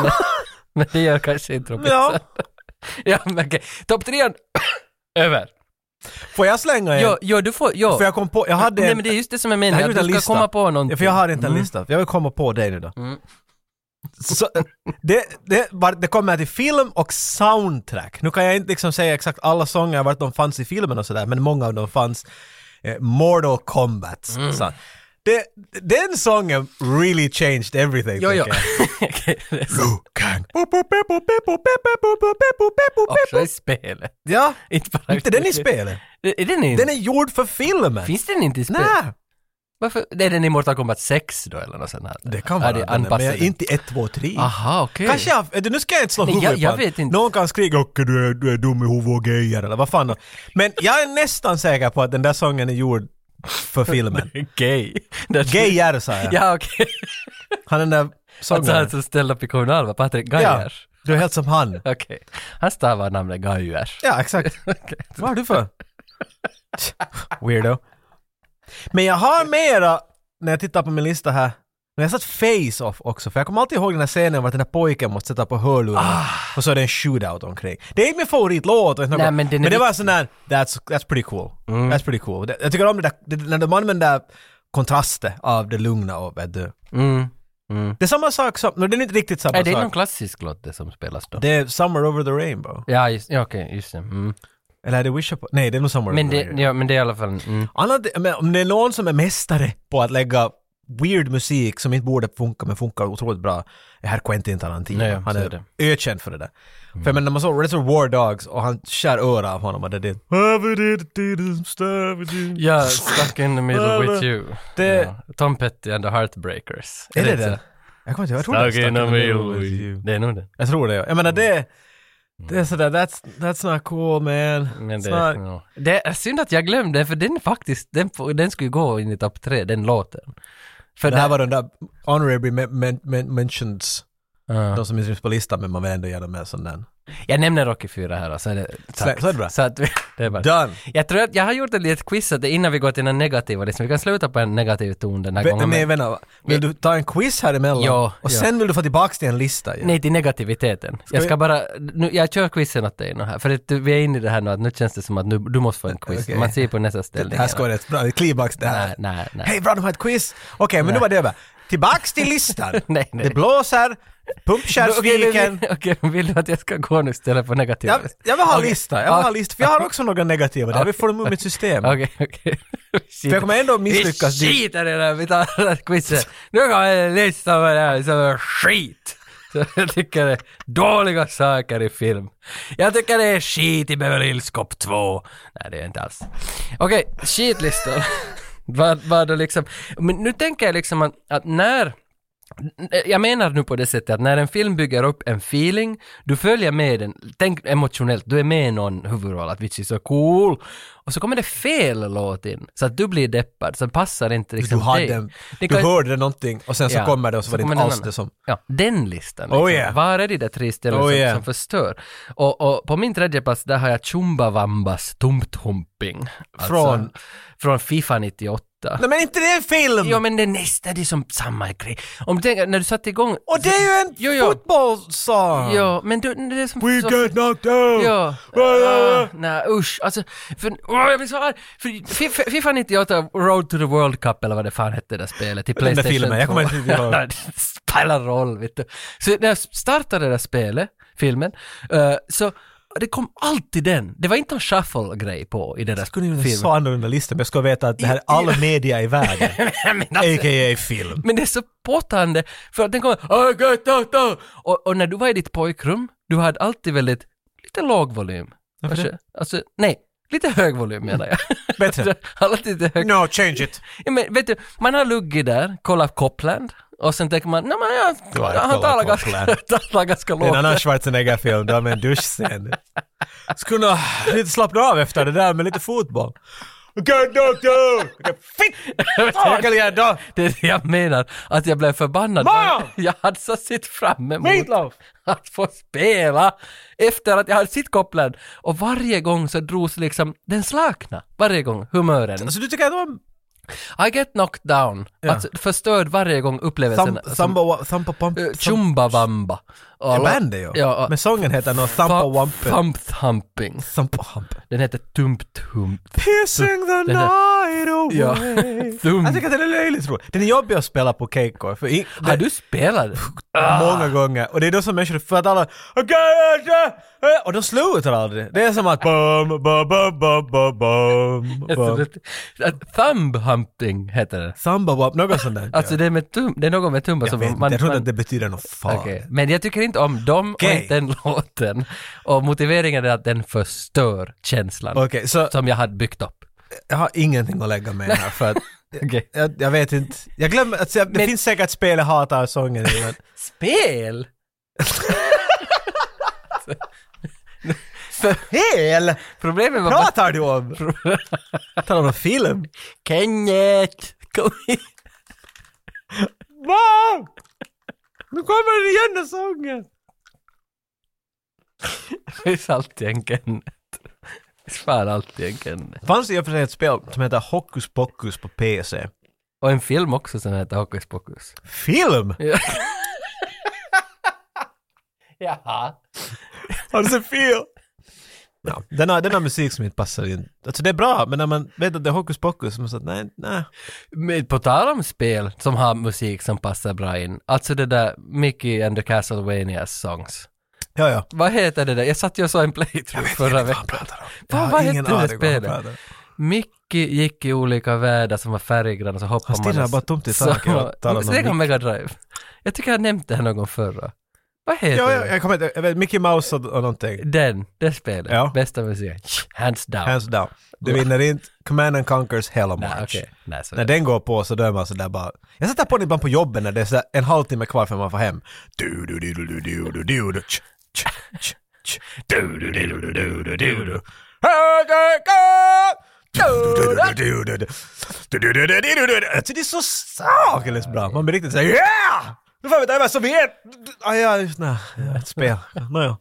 men, *laughs* men det gör kanske inte Robinson. *laughs* Ja. ja, men okej. Topp *coughs* trean, över. får jag slänga en? Jo, jo, du får, jo. För jag kom på, jag hade Nej en, men det är just det som är Det här är meningen, att utan du lista. ska komma på någonting. Ja, för jag har inte en Mm. lista. Jag vill komma på dig nu då. Mm. Så, det, det, var, det kommer till film och soundtrack. Nu kan jag inte liksom säga exakt alla sånger, vart de fanns i filmen och sådär, men många av dem fanns. Eh, Mortal Kombat. Mm. Så. Det, den sången really changed everything. Jo, jo. tycker jag. *laughs* Okej, det är så. Liu Kang. Bo, bo, be, bo, be, bo, be, be, bo, bo, be, bo, be, bo, be, Också bo. i spelet. Ja, Inte bara inte den i spelet. Är den i? Den är gjord för filmen. Finns den inte i spelet? Nej, Varför? Nej, den är i Mortal Kombat 6 då eller något sånt här. det kan Ja, vara det den, men jag- anpassade. inte 1, 2, 3. Aha, okej. Kanske jag, vet du, nu ska jag inte slå Nej, huvudet jag- jag på vet han. inte. Någon kan skrika "Okej, du är, du är dum i huvudet och gejer eller vad fan då. Men jag är nästan säker på att den där sången är gjord *laughs* för filmen. Gay. Det- Gejer sa jag. Ja, okej. *laughs* Han den där Alltså sångaren. han som ställde upp i kommunal, Patrik Ja, Gajer. du är helt som han. Okej. Han stavar namnet Gajer. *laughs* Ja, exakt. Vad har du för? Weirdo. Men jag har mera, när jag tittar på min lista här, men jag satt face-off också, för jag kommer alltid ihåg den här scenen vart den där pojken måste sätta på hörlurarna Ah. och så är det en shootout omkring. Det är inte min favoritlåt, och inte Nej, något- men den är Mm. men det var viktig. sån sån där, that's, that's pretty cool. That's pretty cool. Det- Jag tycker om det där, det, när de använder kontraster av det lugna och vet du. Mm. Mm. Det är samma sak som, no, det är inte riktigt samma Är det sak. någon klassisk låt det som spelas då? Det är Summer over the rainbow. Ja, just, ja okej, just det. Mm. Eller är det Wish upon... Nej, det är nog Summer Men, over the det, rainbow. ja, men det är i alla fall... Mm. Annat, men om det är någon som är mästare på att lägga weird musik som inte borde funka men funkar otroligt bra är herr Quentin Tarantino. Nej, ja, han så är, är det. Mm. ökänd för det där. För jag menar, när man såg Reservoir War Dogs och han skär öra av honom och det är det. Ja, Stuck in the middle with you. Det- Ja. Tom Petty and the Heartbreakers. Är det inte det? så? Jag kommer inte ihåg. jag tror det är Stuck in the middle with with you. you. Det är nog det. Jag tror det, ja. Jag menar det, det är sådär, that's, that's not cool man. Men It's det, not- ja. det är synd att jag glömde, för den faktiskt, den, får- den skulle ju gå in i topp tre, den låten. För Det här där- var de där honorary men, men, men, mentions, Ja. de som inte finns på listan men man vill ändå ge dem en sån där. Jag nämner Rocky 4 här och så är det... tack. så är det bra. Så att vi, det är bara... Done! Jag tror att jag har gjort ett litet quiz att det- innan vi går till den negativa listan. Vi kan sluta på en negativ ton den här Vä- gången. nej, men- vänta. Vill du ta en quiz här emellan? Ja, och ja. sen vill du få tillbaka till en lista igen? Nej, till negativiteten. jag vi- ska bara... Nu, jag kör quizen åt dig nu här. För att du- vi är inne i det här nu att nu känns det som att nu, du måste få en quiz. Okej. Man ser på nästa det ställning. här ska vara rätt bra. Klimax det här. Nej, nej, nej. Hej, bra de har ett quiz! Okej, men nu var det över. Tillbaks till listan! *laughs* Nej, nej. Det *laughs* blåser, Okej, men pumpkärrsviken. vill- Okej, men vill du att jag ska gå nu istället för negativa? Jag, jag vill ha Okej. lista, jag vill ha Ja. lista. För jag har också några negativa där. Jag vill få dem ur mitt system. Okej, *laughs* okej. För jag kommer ändå misslyckas Vi dit. skiter i det här, vi *laughs* tar det här quizet. Nu kommer en lista på det här som är *laughs* skit. Så jag tycker det är dåliga saker i film. Jag tycker det är *laughs* skit i Beverly Hills Cop 2. Nej, det är inte alls. Okej, skitlistor. Vad, vad då liksom, men nu tänker jag liksom att, att när Eh, jag menar nu på det sättet att när en film bygger upp en feeling, du följer med den, tänk emotionellt, du är med i någon huvudroll, att vitch är så cool, och så kommer det fel låt in, så att du blir deppad, så passar inte Du, liksom hade, dig. en- Det du kan- hörde någonting och sen så Ja, kommer det och så, var det kommer inte den alls andra. det som... Ja, den listan. liksom. Oh yeah. Var är de där tre ställena Oh som, yeah. som förstör? Och, och på min tredje plats där har jag Chumbawambas Tomthumping. Från? Alltså, Från Fifa 98. Nej men inte det är en film! Jo men det är nästan det är som samma grej. Om du tänker, när du satte igång... och det är ju en Jo, jo. fotbollssång! Ja, men du, det är som... We så- get knocked out! Ja. Ah. Ah, nej usch. Alltså, för, åh, jag blir så arg. För Fi- Fifa 98, Road to the World Cup eller vad det fan hette det där spelet till Den där Playstation filmen, jag kommer 2. inte *laughs* ihåg. Ja, det spelar roll vet du. Så när jag startade det där spelet, filmen, eh, så det kom alltid den. Det var inte någon shuffle-grej på i den där skulle ju filmen. *laughs* så annorlunda lista, men jag skulle veta att det här är all media i *laughs* världen. Men alltså- A.k.a. film. Men det är så påtande för att den kommer I got out, out. Och, och när du var i ditt pojkrum, du hade alltid väldigt, lite låg volym. Varför det? Alltså, alltså, nej, lite hög volym menar jag. *laughs* *laughs* Bättre. alltid lite hög. No, change it! Ja, men vet du, man har luggit där, kollat Copland och sen tänker man, nej men Du *laughs* har jag, han kollat talar ganska, Copland." talar ganska Det är en lågt. annan Schwarzenegger-film, där med en duschscen. Skulle kunna lite slappna av efter det där med lite fotboll. Get knocked out! *laughs* Fitt! Vilken dag! Det är det jag menar, att jag blev förbannad. Mom! *laughs* Jag hade så sett fram emot Meatloaf! *laughs* att få spela efter att jag hade sitt Copland. Och varje gång så drogs liksom, den slakna. Varje gång, humören. Alltså du tycker att om Alltså- I get knocked down. Alltså förstörd varje gång upplevelsen. Thump- Thumpa Thumpa Pump... alltså, Eh, Chumbawamba. Det Och- är bandet ju. Ja, och- Men sången heter nog Thumpa Thu- Wumpa. Thump thumping. Thumpa Humpa. Den heter Tumpt Hump. Piercing the Den night away. Ja. *laughs* Thump. Alltså, Jag tycker att den är löjligt rolig. Den är jobbig att spela på Keikko. För i, Har du *laughs* spelat den? Ah. Många gånger. Och det är då som människor, för att alla "Okej, okej, okej", och de slutar aldrig. Det är som att bum, bum, bum, bum, bum, bum, Alltså, bum. Thumb humping heter det. Thumba wump, något sånt där. *laughs* Alltså det är, med tum- det är någon med tumba jag, som vet, inte, jag tror inte att det betyder något fan. Okej, Men jag tycker inte om dem och Okej. inte den *laughs* låten. Och motiveringen är att den förstör känslan Okej, så som jag hade byggt upp. jag har ingenting att lägga med här för att Okej. jag, jag vet inte. Jag glömmer, alltså, jag, det Men- finns säkert spel jag hatar sången i, men Spel! *laughs* Fel! Problemet var bara... Pratar du om? Talar om film? *laughs* Kenneth! Kom hit! Va? Nu kommer den igen den sången! Det finns alltid en Kenneth. Det finns fan alltid en Kenneth. Det fanns ju i och för sig ett spel som heter Hokus Pokus på PC. Och en film också som heter Hokus Pokus. Film? Jaha. Har du sett fel? Ja, den, har, den har musik som inte passar in. Alltså det är bra, men när man vet att det är hokus pokus, så man säger nej, nej. Men på tal om spel som har musik som passar bra in. Alltså det där Mickey and the Castlevanias songs. Ja, ja. Vad heter det där? Jag satt ju och såg en playthrough förra vad han veckan. pratar om. Jag Vad, har vad ingen hette det aning vad han spelet? pratar om. Mickey gick i olika världar som var färggranna så hoppade Han man... stirrar och- bara tomt i så- taket och talar om Så det kan Mickey. Mega Drive. Jag tycker jag nämnde det här någon gång förra. Vad heter Ja, ja, det? jag kommer inte, jag vet, Mickey Mouse och, och någonting. Den, det spelet. Ja. Bästa musiken. Hands down. Hands down. Du vinner inte Command and Conquers Hell of Nej, March. okej. Nej, så När den går på så dör man sådär bara. Jag sätter på den ibland på jobben när det är sådär en halvtimme kvar för man får hem. Du, du, du, du, du, du, du, du, du, tsch, tsch, tsch, tsch. Du, du, du, du, du, du, du, du, du. Du, du, du, du, du, du, du. Du, du, du, du, du, du, du, du. Alltså det är så sakelöst bra. Man blir riktigt såhär yeah! Nu får vi ta över Sovjet! Ah, ja, just nej, ett spel. Nåja.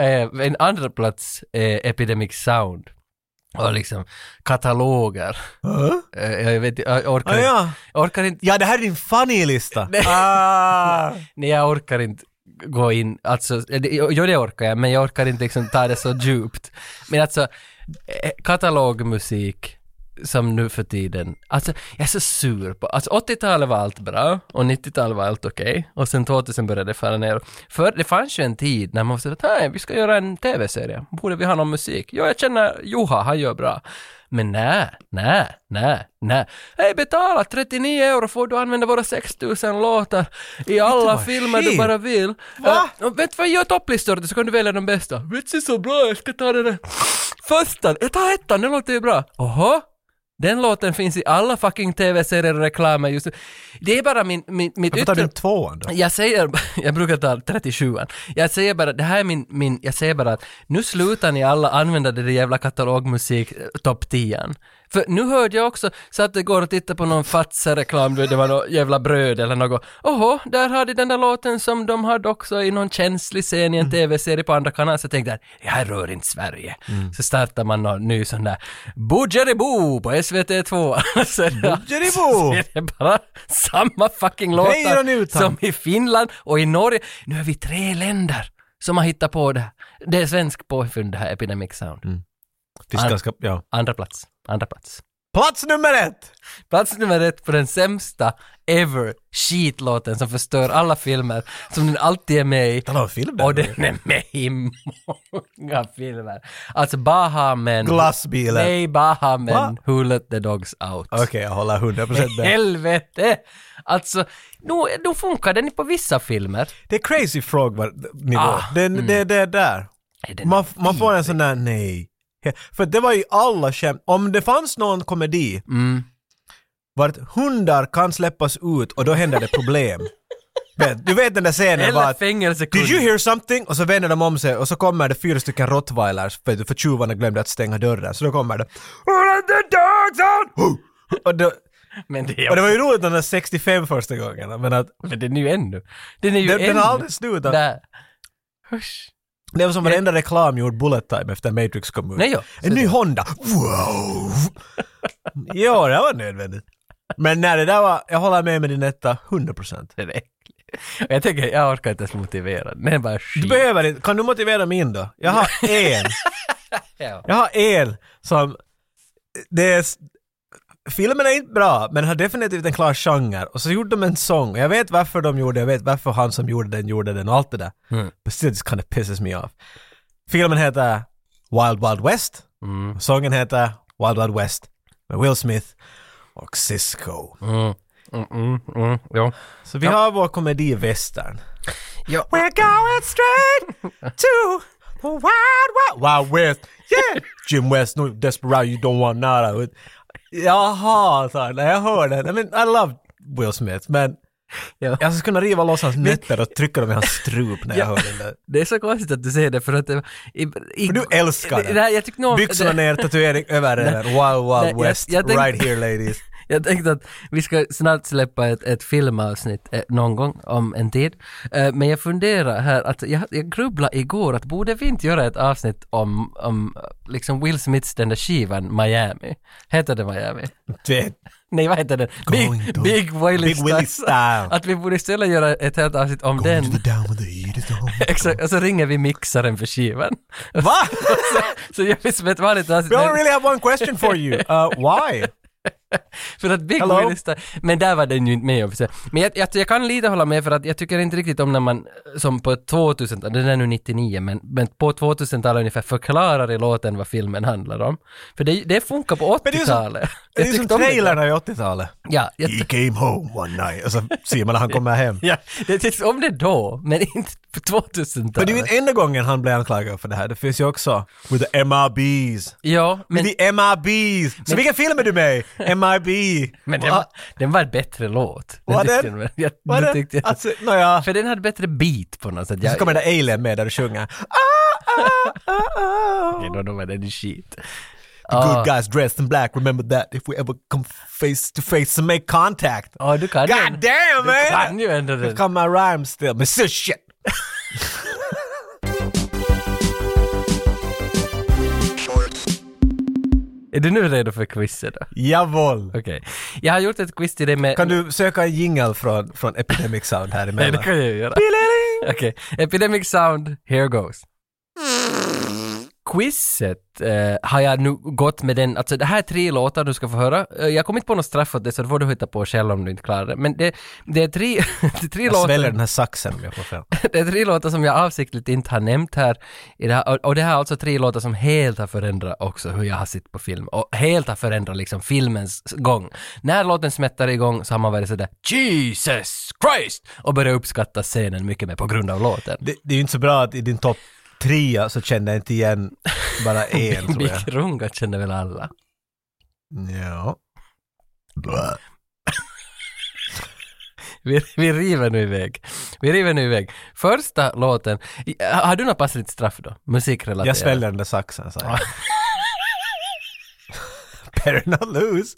Eh, en andra plats är Epidemic Sound. Och liksom kataloger. Huh? Eh, jag vet inte, jag orkar Ah, inte. ja. Jag orkar inte, Ja, det här är din funny-lista. Ah. nej jag orkar inte gå in, alltså, eh, det- jo det orkar jag, men jag orkar inte liksom ta det så djupt. Men alltså, eh, katalogmusik som nu för tiden, alltså jag är så sur på, alltså 80-talet var allt bra och 90-talet var allt okej och sen 2000 började det falla ner. För det fanns ju en tid när man var sådär, nej vi ska göra en tv-serie, borde vi ha någon musik? Ja, jag känner Juha, han gör bra. Men nej, nej, nej, nej. Hej, betala 39 euro får du använda våra 6000 låtar i alla vad filmer du skit. bara vill. Va? Eh, och vet du vad, gör topplistor så kan du välja de bästa. Vet du, så bra, jag ska ta den där. Första, jag tar ettan, det låter ju bra. Oho. Den låten finns i alla fucking tv-serier och reklamer just nu. Det är bara min, min, mitt Varför tar du yttre... inte tvåan då? Jag säger, *laughs* jag brukar ta 37an. Jag säger bara, det här är min, min, jag säger bara att nu slutar ni alla använda det där jävla katalogmusik eh, topp 10 För nu hörde jag också så att det går att titta på någon Fazer-reklam, du vet, det var något jävla bröd eller något. Oho, där har de den där låten som de hade också i någon känslig scen i en tv-serie på andra kanalen. Så jag tänkte jag, det här rör inte Sverige. Så startar man någon ny sån där Bojeriboo på SVT2. *laughs* Så är det- Bojeriboo! *laughs* så är det bara samma fucking Hej då, låtar Nutan! som i Finland och i Norge. Nu är vi tre länder som har hittat på det här. Det är svensk påfund det här, Epidemic Sound. Mm. Finns Ah. ganska, ja. Andra plats. Andra plats. Plats nummer ett! Plats nummer ett på den sämsta ever skitlåten som förstör alla filmer, som den alltid är med i. Tala om film Och där. den är med i många filmer. Alltså Bahamen. Glassbilen. Nej, Bahamen. Va? Who let the dogs out. Okej, jag håller 100% med. Helvete! Alltså, då, då funkar den ju på vissa filmer. Det är crazy frog var, nivå. Ah, Den, det, det är där. Nej, den Man, man får en sån där nej. He- För det var ju alla skämt. Om det fanns någon komedi Mm. vart hundar kan släppas ut och då händer det *laughs* problem. Vet- du vet den där scenen Eller var att fängelsekund. Did you hear something? Och så vänder de om sig och så kommer det fyra stycken rottweilers för, för tjuvarna glömde att stänga dörren. Så då kommer det "Who let the dogs out?" och, det, Men det, är, och det var ju roligt när den är 65 första gången. Men att men den är ju ännu. Den är ju den, ännu. den har aldrig slutat. Där. Husch. Det var som varenda reklam gjord Bullet Time efter Matrix kom ut. Nej, ja. En ny Honda! Wow! ja, det var nödvändigt. Men när det där var, jag håller med med din etta, 100%. Den är äcklig. Och Jag tänker, jag orkar inte ens motivera den. Den är bara Du skit. behöver inte, kan du motivera min då? *laughs* Jag har en, Ja. jag har en som, det är, s- filmen är inte bra, men har definitivt en klar genre. Och så gjorde de en sång, jag vet varför de gjorde det, jag vet varför han som gjorde den gjorde den och allt det där. Mm. But still it kind of pisses me off. Filmen heter Wild Wild West. Mm. Sången heter Wild Wild West med Will Smith och Cisco. Mm. Mm, mm, mm, ja. Så vi har vår komedi västern. Ja. We're going straight to the wild, wild, wild west. Yeah! Jim West, no desperado, you don't want nada. Jaha, sa han. när jag hör den. I mean, I love Will Smith, men Ja. jag skulle kunna riva loss hans nötter och trycka dem i hans strup när jag hör den där. Det är så konstigt att du säger det för att det, i, i, För du älskar den. Nej, jag tyckte nog... Byxorna ner, tatuering över den. Wild, Nej, wild jag- west, jag tänkte- right here ladies. Jag tänkte att vi ska snart släppa ett, ett filmavsnitt eh, någon gång om en tid. Eh, men jag funderar här, att jag, jag grubblade igår att borde vi inte göra ett avsnitt om, om eh, liksom Will Smiths den där skivan Miami? Heter det Miami? Det- Nej, vad heter den? Going Big, to- Big Willie Big Willie style. Att vi borde istället göra ett helt avsnitt om den. *laughs* Exakt, och så ringer vi mixaren för skivan. *laughs* Va? Så gör vi som ett vanligt avsnitt. We men- only really have one question *laughs* for you. Uh, why? För att Big Hello? Willie Star, men där var den ju inte med i och för sig. Men jag, jag, jag kan lite hålla med för att jag tycker inte riktigt om när man, eh, som på 2000 den är nu 99, men, men på 2000-talet ungefär förklarar i låten vad filmen handlar om. För det, det funkar på det är ju som- 80-talet. Det är Jag som tyckte om det. trailern i 80-talet. Ja, jag, *laughs* He came home one night. Och så ser man när han kommer hem. ja, jag tyckte om det då, men inte på *laughs* Men det är ju 2000-talet. inte enda gången han blev anklagad för det här. Det finns ju också with the MRBs. Ja, men, With the MRBs. Så vilken film är *laughs* du med i? MRB. men den, var, den var en bättre låt. Den Var tyckte den? Jag, jag, Vad den är tyckte det? jag, Alltså, nåja. för den hade bättre beat på något sätt. Så Jag, kommer det där Alien med där du sjunger. Ah, ah, ah, ah. jag, då var den shit. The good guys dressed in black, remember that if we ever come face to face and make contact. Ja, du kan God damn Du man! kan ju ändå Here den. come my rhymes still, but still shit. Är du nu redo för quizet då? Jawohl! Okej. Jag har gjort ett quiz till dig med... Kan du söka en jingle från, från Epidemic Sound här Nej, det emellan? kan jag ju göra. Okej. Epidemic Sound, here goes. Quizet eh, har jag nu gått med den, alltså det här är tre låtar du ska få höra. Eh, Jag kommer inte på något straff åt det så det får du hitta på själv om du inte klarar det. Men det, det är tre, *laughs* det är tre Jag sväljer låtar den här saxen om jag får fel. det är tre låtar som jag avsiktligt inte har nämnt här. I det här och, och det här är alltså tre låtar som helt har förändrat också hur jag har sett på film. Och helt har förändrat liksom filmens gång. När låten smättar igång så har man varit sådär “Jesus Christ!” och börjat uppskatta scenen mycket mer på grund av låten. Det, det är ju inte så bra att i din topp *laughs* trea så kände jag inte igen bara en tror jag. Big Runga känner väl alla? Ja. Vi, vi river nu iväg. Vi river nu iväg. Första låten. I- Har du något passligt straff då? Musikrelaterat? Jag sväljer den där saxen sa jag. *laughs* Better not lose.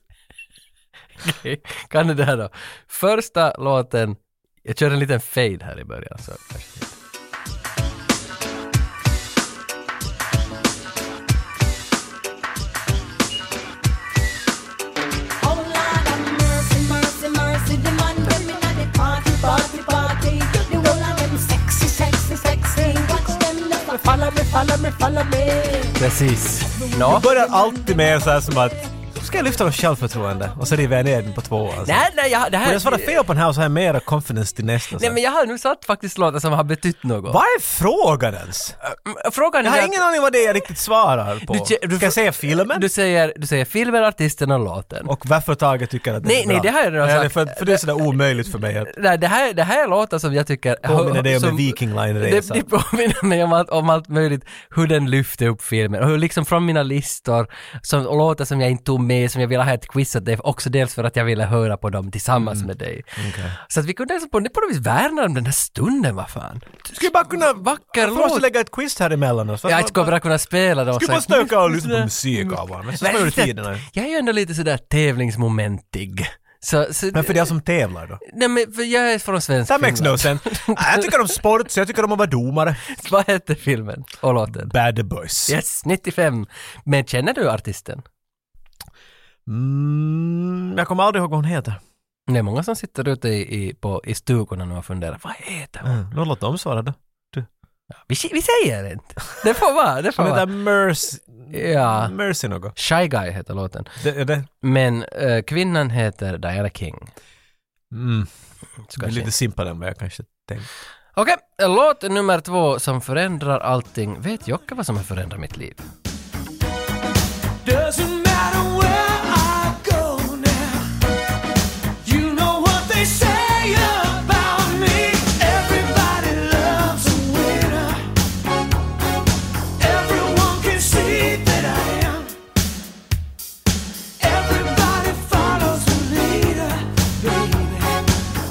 Okej, *laughs* Kan du det här då? Första låten, jag kör en liten fade här i början. Så. kanske- Oh Lord have mercy, mercy, mercy. The man tell me that they party, party, party. The whole of them sexy, sexy, sexy. Watch them now, follow me, follow me, follow me. Precis. Nå? Börjar alltid med så här som att ska jag lyfta något självförtroende och så river jag ner den på två. Alltså. Nej, nej, jag, det Borde här... jag svara fel på den här och så har jag mera confidence till nästa. Nej, men jag har nu satt faktiskt låtar som har betytt något. Vad är frågan ens? Mm, Frågan Jag är... har att- ingen aning vad det är jag riktigt svarar på. Du ke- du Ska jag fr- säga filmen? Du säger, du säger filmen, artisten och låten. Och varför Tage tycker att det Nej, är bra? nej, det har jag redan Eller sagt. För, för det är sådär omöjligt för mig att... Nej, det här, det här är låtar som jag tycker... Påminner det om som- en Viking Det, Line-resa? det påminner mig om allt, om allt möjligt, hur den lyfte upp filmen och hur liksom från mina listor, som, och låtar som jag inte tog med, som jag ville ha ett quiz åt dig, också dels för att jag ville höra på dem Mm. tillsammans med dig. Så att vi kunde alltså på, på något vis värna om den här stunden, vad fan. Skulle bara kunna... Vacker Varför måste låt! jag lägga ett quiz här emellan oss? Jag skulle bara kunna spela dem. Skulle så bara här- stöka och lyssna på musik av varandra. Men så Men slår du lite- tiden här. Jag är ju ändå lite sådär tävlingsmomentig. Så, så, Men för de som tävlar då? nej men för jag är från svensk That makes film. no sense. Ah, jag tycker om sport, så jag tycker om att vara domare. *laughs* Vad heter filmen och låten? Bad boys. Yes, 95. Men känner du artisten? Mm, jag kommer aldrig ihåg vad hon heter. Det är många som sitter ute i, i, på, i stugorna nu och funderar, vad heter hon? Mm. Nu låt dem svara då. Vi, vi säger inte. Det får vara, det får *laughs* Hon vara. heter Mercy... Ja. Mercy något. Shy Guy heter låten. Det, är det. Men eh, kvinnan heter Diana King. Mm. Så Det är kanske- lite simpelare än vad jag kanske tänkte. Okej, låt nummer två som förändrar allting. Vet Jocke vad som har förändrat mitt liv? Doesn't matter where I go now. You know what they say about me. Everybody loves a winner. Everyone can see that I am. Everybody follows the leader, baby.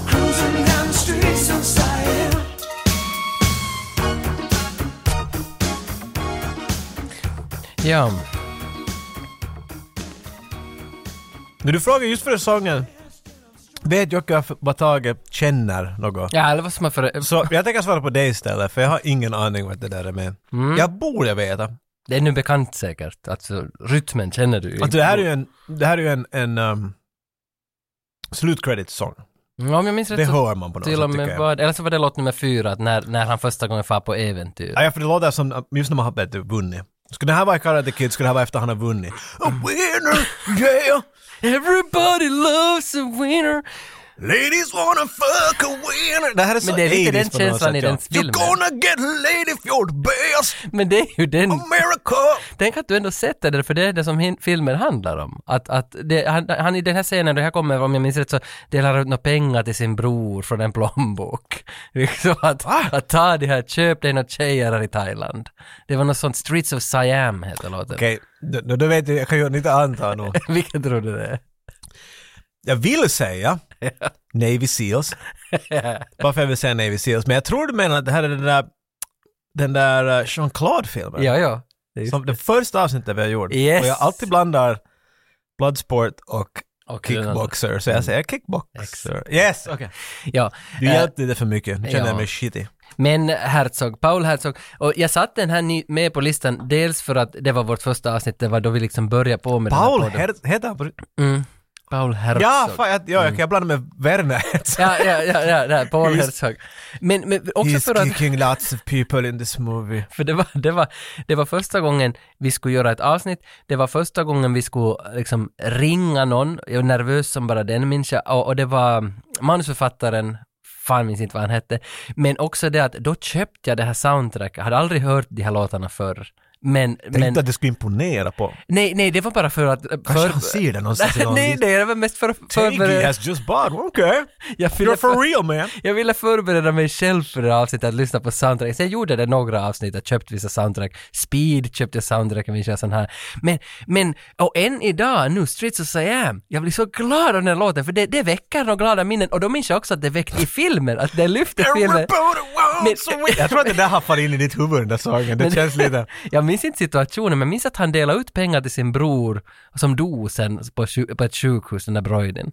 Cruising down the streets of Siam. Ja, Men du frågar just för sången. Vet Jocke vad Tage känner något? ja eller vad som har förändrat... Så jag tänker svara på dig istället, för jag har ingen aning vad det där är med. Mm. Jag borde veta. Det är nu bekant säkert. Alltså, rytmen känner du ju. Alltså det här är ju en, det här är ju en, en um, slutcredits-sång. Ja, om jag minns Det rätt så hör man på något till och sätt tycker med jag. var, eller så var det låt nummer fyra, att när, när han första gången far på äventyr. Ja, för det låter som, uh, just när man har vet du, vunnit. Skulle det här vara i Karate Kid skulle det här vara efter han har vunnit. A winner, yeah! Everybody loves a winner. Ladies wanna fuck a winner! Det här är så Men det är lite 80s den på något känslan sätt, i den ja. filmen. You're gonna get laid if you're the best! Men det är ju den, Oh. America! tänk att du ändå sett det där, för det är det som hin- filmen handlar om. Att, att det, han, han i den här scenen, det här kommer, om jag minns rätt, så delar han ut några pengar till sin bror från en plånbok. *laughs* Liksom att, att ta det här, köp dig några tjejer här i Thailand. Det var något sånt, Streets of Siam heter låten. Okej, då- då, då vet jag, jag kan ju inte anta nog. *laughs* Vilken tror du det är? Jag *laughs* vill säga Navy Seals. Varför jag vill säga Navy Seals, men jag tror du menar att det här är den där, den där eh, Jean-Claude-filmen. Ja, ja. Det är just- Som det första avsnittet vi har gjort. Yes. Och jag alltid blandar Bloodsport och Och den andra. Kickboxer, så jag säger Kickboxer. Yes! Okay. Ja. Du Eh, hjälpte lite för mycket, nu känner ja. jag mig shitty. Men Herzog, Paul Herzog, och jag satt den här ny- med på listan dels för att det var vårt första avsnitt, det var då vi liksom började på med Paul den här podden. Her- heter han på mm. Paul Herzog. Ja, fan, jag, ja, jag, jag blandar med Werner. Mm. *laughs* Ja, ja, ja, ja, det här, Paul Just- Herzog. Men, men också för He's att, kicking lots of people in this movie. för det var, det, var, det var första gången vi skulle göra ett avsnitt, det var första gången vi skulle liksom ringa någon, jag var nervös som bara den människa, och, och det var manusförfattaren, fan minns inte vad han hette, men också det att då köpte jag det här soundtracket, jag hade aldrig hört de här låtarna förr. Men, Tänkte men att du skulle imponera på. nej, nej, det var bara för att... Kanske för, han ser det någonstans. i någon *laughs* nej, list. nej, det var mest för att Tiggy förbereda... has just bought, okay. Jag You're ville, *laughs* for för, real man. jag ville förbereda mig själv för det här avsnittet, att lyssna på soundtrack. Sen gjorde jag det några avsnitt, jag köpte vissa soundtrack. Speed köpte jag soundtracken, vi kör sån här. Men, men, och än idag nu, Streets of Siam, jag blir så glad av den här låten, för det, det väcker några glada minnen. Och då minns jag också att det väckte i filmen, att det lyfte filmen. Men- Jag tror att det där har farit in i ditt huvud den där sången. Det Men- känns lite... Jag minns inte situationen, men jag minns att han delade ut pengar till sin bror som dog sen på, sju- på ett sjukhus, den där broiden.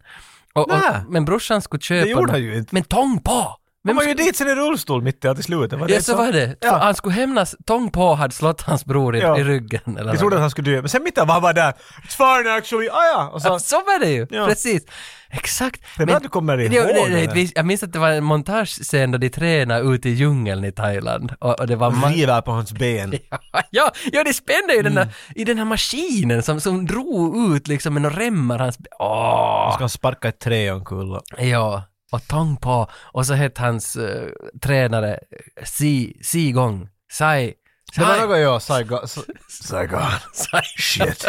Och, och, Nä. men brorsan skulle köpa... gjorde nå- han ju inte. *laughs* Men tång på! Han Vem var ju skulle- dit sen i rullstol mitt i allt i slutet. Var Ja, så var det. Ja. Han skulle hämnas. Tång på hade slått hans bror i, Ja. i ryggen. Eller Vi trodde att något. han skulle dö, men sen mitt i allt var han bara där. It's fine actually, ah ja. Och så, Ja, så var det ju, Ja. precis. Exakt. Det är bra att du kommer ihåg det, det, det där. det, visst, Jag minns att det var en montagescen där de tränade ute i djungeln i Thailand. Och, och det var... ma- river på hans ben. *laughs* ja, ja, det spände ju den Mm. där, i den här maskinen som, som drog ut liksom med några remmar hans... Åh! Ska han sparka ett trä omkull? Ja, och Tong på. Och så hette hans eh, tränare eh, Si, Si Gong, Sai. Det var Sai. något jag, Saigon. *laughs* Saigon. Sai. Shit.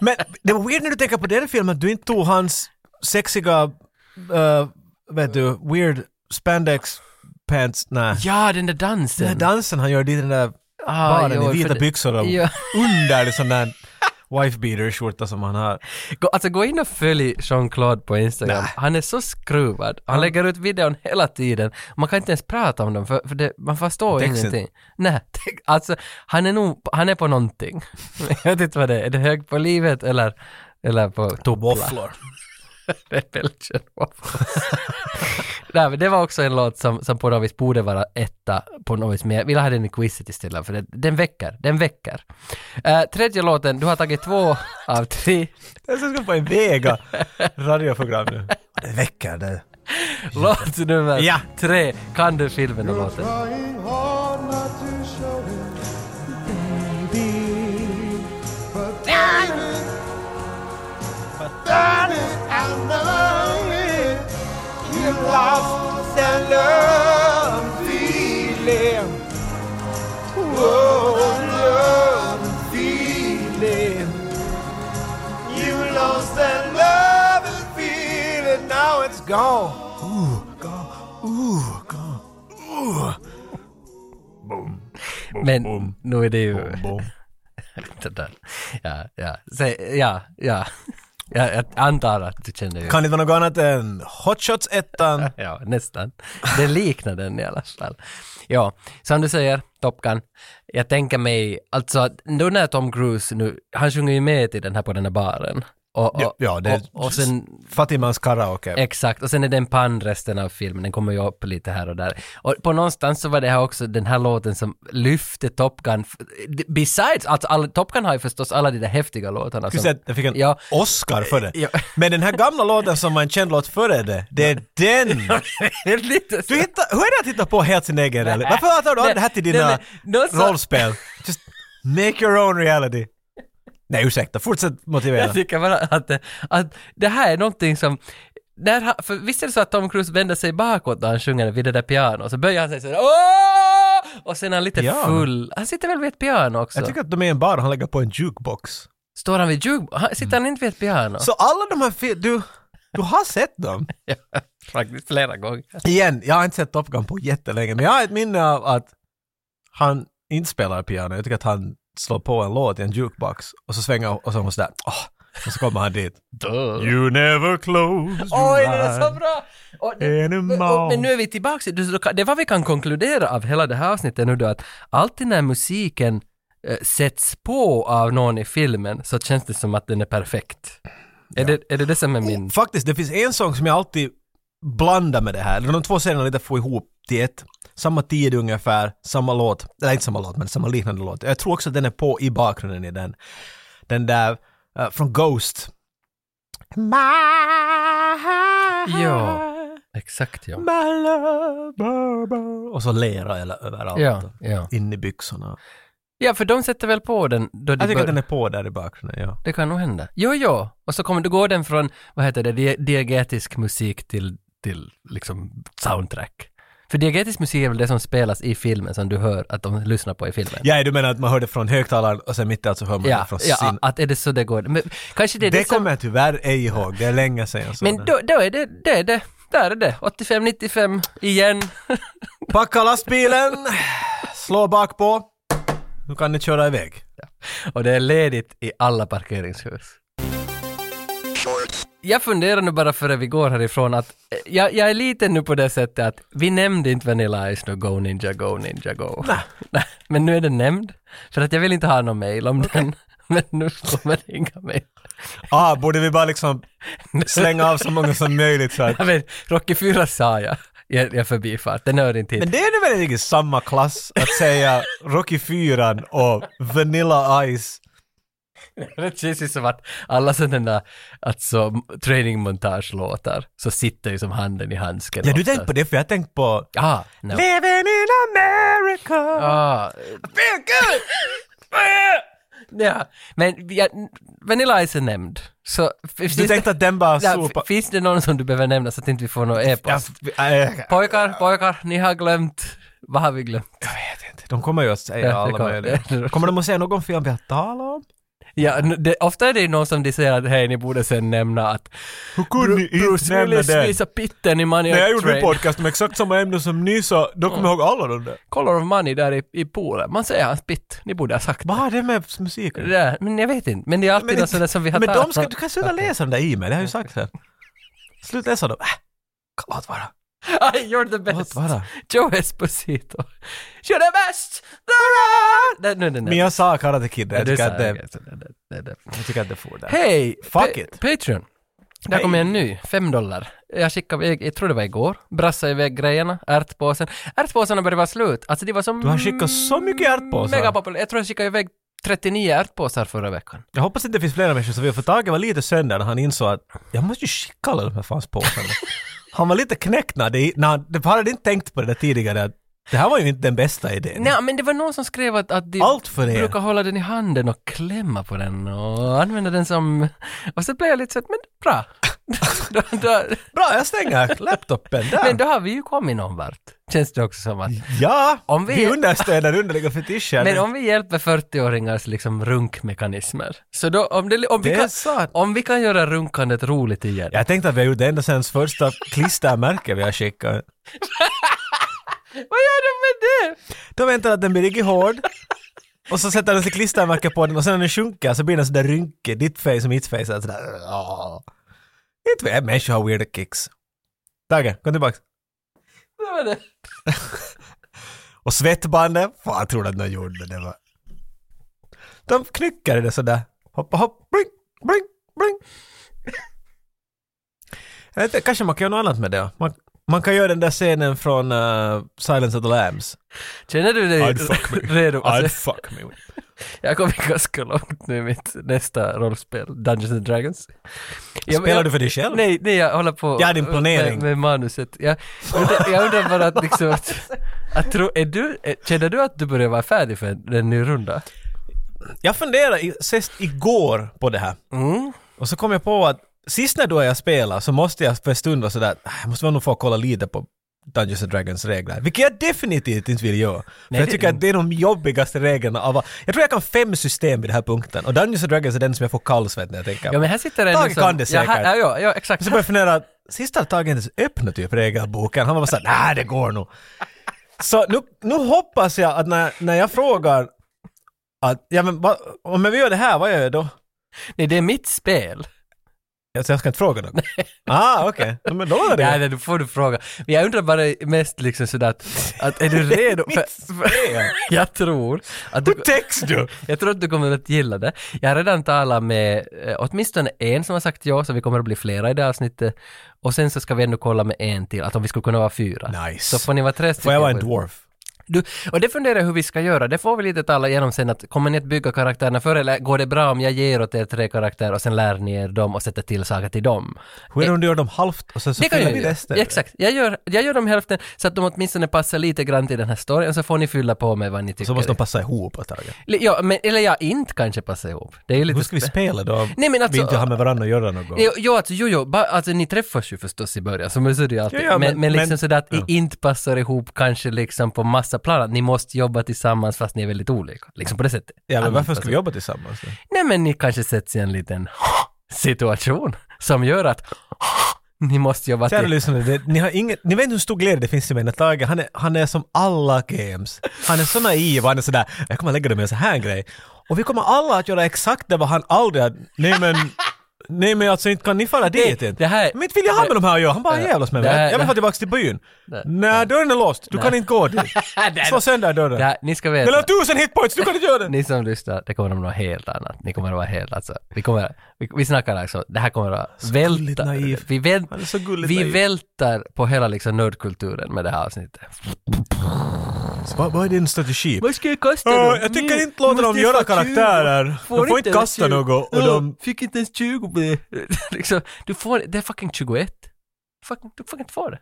Men det var weird när du tänker på den filmen att du inte tog hans sexiga, eh, vet du, weird spandex pants, nej. Ja, den där dansen. Den här dansen han gör i den där Ah, baren jo, i vita för det- byxor och Ja. under en sån där wife beater skjorta som han har. Gå, alltså gå in och följ Jean-Claude på Instagram. Nä. Han är så skruvad. Han lägger ut videon hela tiden. Man kan inte ens prata om dem för, för det, man förstår Texten. ingenting. Nej, tex- alltså han är nog, han är på någonting. *laughs* Jag vet inte vad det är. Är det hög på livet eller, eller på *laughs* Våfflor. Rebellion Waffles. *laughs* Nej, men det var också en låt som, som på något vis borde vara etta på något vis, men jag vill ha den i quizet istället för den, den väcker, den väcker. Eh, tredje låten, du har tagit två av tre. Jag ska få en Vega radioprogram nu. Det väcker det. Låt nummer Ja. tre, kan du filmen och låten? Trying hard not to show it, baby. But darling, but darling, I know it. You lost that love feeling. Oh, love feeling. You lost that love feeling. Now it's gone. Men nu är det ju... *laughs* Det där. Ja, ja, Säg- ja, ja. ja. Jag antar att du känner ju... Kan inte vara något annat än Hot Shots ettan. Ja, nästan. Det liknar den i alla fall. Ja, som du säger, Top Gun. Jag tänker mig, alltså att då när Tom Cruise nu, han sjunger ju med till den här på den här baren. Och, och, Ja, ja, det är och, och sen, Fatimans karaoke. exakt, och sen är den pann resten av filmen, den kommer ju upp lite här och där. Och på någonstans så var det här också den här låten som lyfte Top Gun. Besides, alltså alla, Top Gun har ju förstås alla de där häftiga låtarna. Skulle säga att den fick en Ja. Oscar för det. Ja. Men den här gamla låten som var en känd låt före det, det *laughs* är den! *laughs* Det är lite så- Du hittar, hur är det att hitta på helt sin egen eller? Varför tar du aldrig det här till Nej, dina men någon sa- rollspel? Just make your own reality. Nej ursäkta, fortsätt motivera. Jag tycker bara att, det- att det här är någonting som när han, för visst är det så att Tom Cruise vänder sig bakåt när han sjunger vid det där pianot, så böjer han sig sådär Åh! Och sen är han lite Ja. full. Han sitter väl vid ett piano också? Jag tycker att de är i en bar och han lägger på en jukebox. Står han vid jug... han- Sitter han inte vid ett piano? Så alla de här fi- du, du har sett dem? Faktiskt flera gånger. Igen, jag har inte sett Top Gun på jättelänge, men jag har ett minne av att han inte spelar piano. Jag tycker att han slår på en låt i en jukebox och så svänger och så är hon sådär, åh, och så kommer han dit. You never close your Oj, det är så eyes bra! Och, anymore. och, men nu är vi tillbaka till- du- det var vi kan konkludera av hela det här avsnittet nu då att alltid när musiken eh, sätts på av någon i filmen så känns det som att den är perfekt. Är, det, är det det som är min... Faktiskt, det finns en sång som jag alltid blandar med det här. De två scenerna lite får ihop till ett. Samma tid ungefär, samma låt. Eller inte samma låt, men samma liknande låt. Jag tror också att den är på i bakgrunden i den. Den där eh, från Ghost. Ja, exakt ja. My love, blah, blah. Och så lera eller överallt. Ja, Alltså, ja. In i byxorna. ja, för de sätter väl på den då de Jag tycker bör... att den är på där i bakgrunden, ja. Det kan nog hända. Jo, jo. Och så kommer du gå den från, vad heter det, dia- diegetisk musik till, till liksom soundtrack. För diegetisk musik är väl det som spelas i filmen som du hör att de lyssnar på i filmen? Ja, du menar att man hörde från högtalaren och sen mitt i allt så hör man det ja, från ja, sin... att är det så det går. Men, kanske det är det, Det som... kommer jag tyvärr ej ihåg, det är länge sedan jag såg Men den. då, då är det, det är det. Där är det. 85, 95 igen. *laughs* Packa lastbilen, slå bak på. Nu kan ni köra iväg. Och det är ledigt i alla parkeringshus. Jag funderar nu bara före vi går härifrån att eh, jag, jag är lite nu på det sättet att vi nämnde inte Vanilla Ice nu, Go Ninja Go Ninja Go. *laughs* Nej. Men nu är den nämnd, för att jag vill inte ha någon mail om den. *laughs* Men nu kommer det inga mail. Ah, borde vi bara liksom slänga av så många som möjligt så att... Jag vet, Rocky 4 sa jag, jag, jag förbifart, den hör inte hit. Men det är väl inte i samma klass att säga Rocky 4 och Vanilla Ice. Det känns ju som att alla sådana där, alltså trainingmontagelåtar, så sitter ju som handen i handsken. Ja, du oftast. tänkt på det för jag har tänkt på Ja, no. Living in America. Ah, Feel good! *laughs* ja. Men ja, Vanilla Ice är nämnd. Så finns Du tänkte att den bara ja, sopa... f- finns det någon som du behöver nämna så att inte vi får någon Ja, e-post? f- äh, Pojkar, pojkar, ni har glömt. Vad har vi glömt? De kommer ju att Ja, säga det alla kommer- *laughs* möjliga. Kommer de att säga någon film vi har talat om? Ja, n- det, ofta är det ju någon som de säger att hej, ni borde sen nämna att Hur kunde ni inte Bruce nämna Willis den? visar pitten i Money När jag Train. gjorde min podcast om exakt samma ämne som ni så då kommer jag ihåg alla de där. Color of Money där i, i poolen. Man säger hans pitt. Ni borde ha sagt Vad har det med musik det. Där. Men jag vet inte. Men det är alltid något sådant som vi har men talat de ska, om. du kan sluta läsa den där i mig, det har jag ju sagt sen. Sluta läsa dem. Äh, låt vara. *laughs* Aj, you're the Låt best. vara. Joe Esposito. *laughs* You're the best! The Nej, nu, nu, nu. Men jag sa Karate Kid, Ja, jag du tycker sa att det, det, så det- det- det- det. jag tycker att det får där. Hej! Fuck Pa- it. Patreon. Där Hej. kommer en ny, fem dollar. Jag skickade iväg, jag tror det var igår, brassade iväg grejerna, ärtpåsen. Ärtpåsarna började vara slut. Alltså det var som... Du har skickat så mycket ärtpåsar. Mega populärt. Jag tror jag skickade iväg 39 ärtpåsar förra veckan. Jag hoppas att det finns flera människor som vill, för Tage var lite sönder när han insåg att jag måste ju skicka alla de här fans påsarna. han var lite knäckt när det, när han, han hade inte tänkt på det där tidigare att det här var ju inte den bästa idén. Nej, men det var någon som skrev att, att de Allt för er. brukar hålla den i handen och klämma på den och använda den som... Och så blev jag lite så att, men bra. *laughs* då, då, Bra, jag stänger laptopen där. men då har vi ju kommit någon vart. Känns det också som att... Ja, Om vi, vi- understöder underliga fetischer. Men om vi hjälper 40-åringars liksom runkmekanismer, så då, om, det, om, vi Det är kan, sant. om vi kan göra runkandet roligt igen. Jag tänkte att vi har gjort det ända sedan första klistermärke vi har skickat. Vad gör de med det? De väntar att den blir riktigt hård. Och så sätter de sig klistermärke på den och sen när den sjunker så blir den sådär rynkig. Ditt face och mitt face. är Sådär. åh. Inte vet jag, människor har weirda kicks. Tage, kom tillbaks. Vad var det? Och svettbandet, fan tror du att de gjorde det var. De knyckade det sådär. Hoppa hopp, bling, bling, bling. Jag vet inte, Kanske man kan göra något annat med det. Man, man kan göra den där scenen från eh, Silence of the Lambs. Känner du dig I'd *laughs* fuck me. redo? I'd Alltså, fuck me. jag kommer ganska långt nu i mitt nästa rollspel, Dungeons and Dragons. Jag- Spelar jag- du för dig själv? Nej, nej, jag håller på Ja, din planering. Med, med manuset. Jag undrar, jag undrar bara att liksom att, att tro, är du, är, känner du att du börjar vara färdig för en, en ny runda? Jag funderade i- sist igår på det här. Mm. Och så kom jag på att sist när du och jag spelade så måste jag för en stund vara sådär, "Ah, jag måste väl nog få kolla lite på Dungeons and Dragons regler. Vilket jag definitivt inte vill göra. För Nej, jag det- tycker att det är de jobbigaste reglerna av alla. Jag tror jag kan fem system vid den här punkten. Och Dungeons and Dragons är den som jag får kallsvett när jag tänker Ja, på. men här sitter en Tage som- kan det Ja, här- säkert. Ja, ja, ja, exakt. Så började jag fundera, att sist hade Tage inte ens öppnat typ regelboken. Han var bara såhär, nej det går nog. Så nu, nu hoppas jag att när, när jag frågar att, ja men vad- om vi gör det här, vad gör jag då? Nej, det är mitt spel. Alltså jag ska *laughs* inte fråga något? Ah, okej. Ja, Men då var det Nej, ju- nej, då får du fråga. Men jag undrar bara mest liksom sådär att, att är du redo? mitt spel. jag tror att du, Text du! jag tror att du kommer att gilla det. Jag har redan talat med eh, åtminstone en som har sagt ja, så vi kommer att bli flera i det här avsnittet. Och sen så ska vi ändå kolla med en till, att om vi skulle kunna vara fyra. Nice. Så får ni vara tre stycken. Får jag vara en på- dwarf? Du, och det funderar jag hur vi ska göra, det får vi lite tala igenom sen att kommer ni att bygga karaktärerna före eller går det bra om jag ger åt er tre karaktärer och sen lär ni er dem och sätter till saker till dem? Hur är det om du gör dem halvt och sen så Det kan fyller jag vi göra. resten? Exakt. Jag gör, jag gör dem hälften så att de åtminstone passar lite grann till den här storyn och så får ni fylla på med vad ni tycker. Så måste de passa ihop ett tag. Li- Ja, men, eller ja, inte kanske passa ihop. Det är ju lite... Hur ska vi spä- spela då? om Nej, men alltså- vi inte har med varandra att göra någon gång. Jo, jo, alltså, jo, jo ba, alltså ni träffas ju förstås i början, som så är det ju alltid. Ja, ja, men, men, men- liksom men- sådär att ja. ni inte passar ihop kanske liksom på massa plan, att ni måste jobba tillsammans fast ni är väldigt olika. Liksom på det sättet. Ja, Att men ni varför passar ska vi jobba tillsammans? då? Nej men ni kanske sätts i en liten *laughs* situation som gör att *laughs* ni måste jobba Kära till. lyssnare, det, ni, har ingen, ni vet inte hur stor glädje det finns i mig när Tage, han är, han är som alla games. Han är så naiv och han är sådär, jag kommer lägga dig med en sån här grej. Och vi kommer alla att göra exakt det vad han aldrig har... Nej men... Nej men alltså inte kan ni falla dit inte. det här- men inte vill jag ha med de här att göra, han bara det- jävlas med det här- mig. Jag det- vill få tillbaka till byn. Det- Nej, dörren är låst, du kan inte gå dit. Ah, Slå sönder *laughs* dörren. Det här, ni ska Den har veta, tusen hitpoints, du kan inte göra det! ni som lyssnar, det kommer att vara något helt annat. Ni kommer att vara helt, alltså, vi kommer, vi, vi snackar alltså, det här kommer att vara gulligt välta, naiv. vi, väl, Han är så gulligt vi naiv. vältar på hela liksom nördkulturen med det här avsnittet. Så Vad, vad är din strategi? Vad ska jag kasta Ja, jag tycker inte låta dem göra karaktärer. De får inte kasta något och de... Fick inte ens 20 på det. *laughs* liksom, du får, det är fucking 21. Fucking, du får inte få det.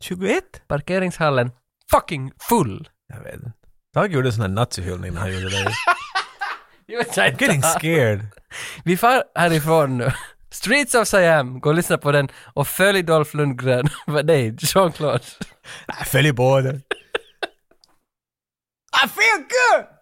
21? Parkeringshallen, fucking full. Jag vet inte. Tage gjorde en sån här nazihyllning när han gjorde *laughs* det. Jag vet inte. I'm getting *laughs* scared. Vi far härifrån nu. Streets of Siam, gå och lyssna på den och följ Dolph Lundgren. *laughs* Vad nej, Jean-Claude. Följ båten. I feel good!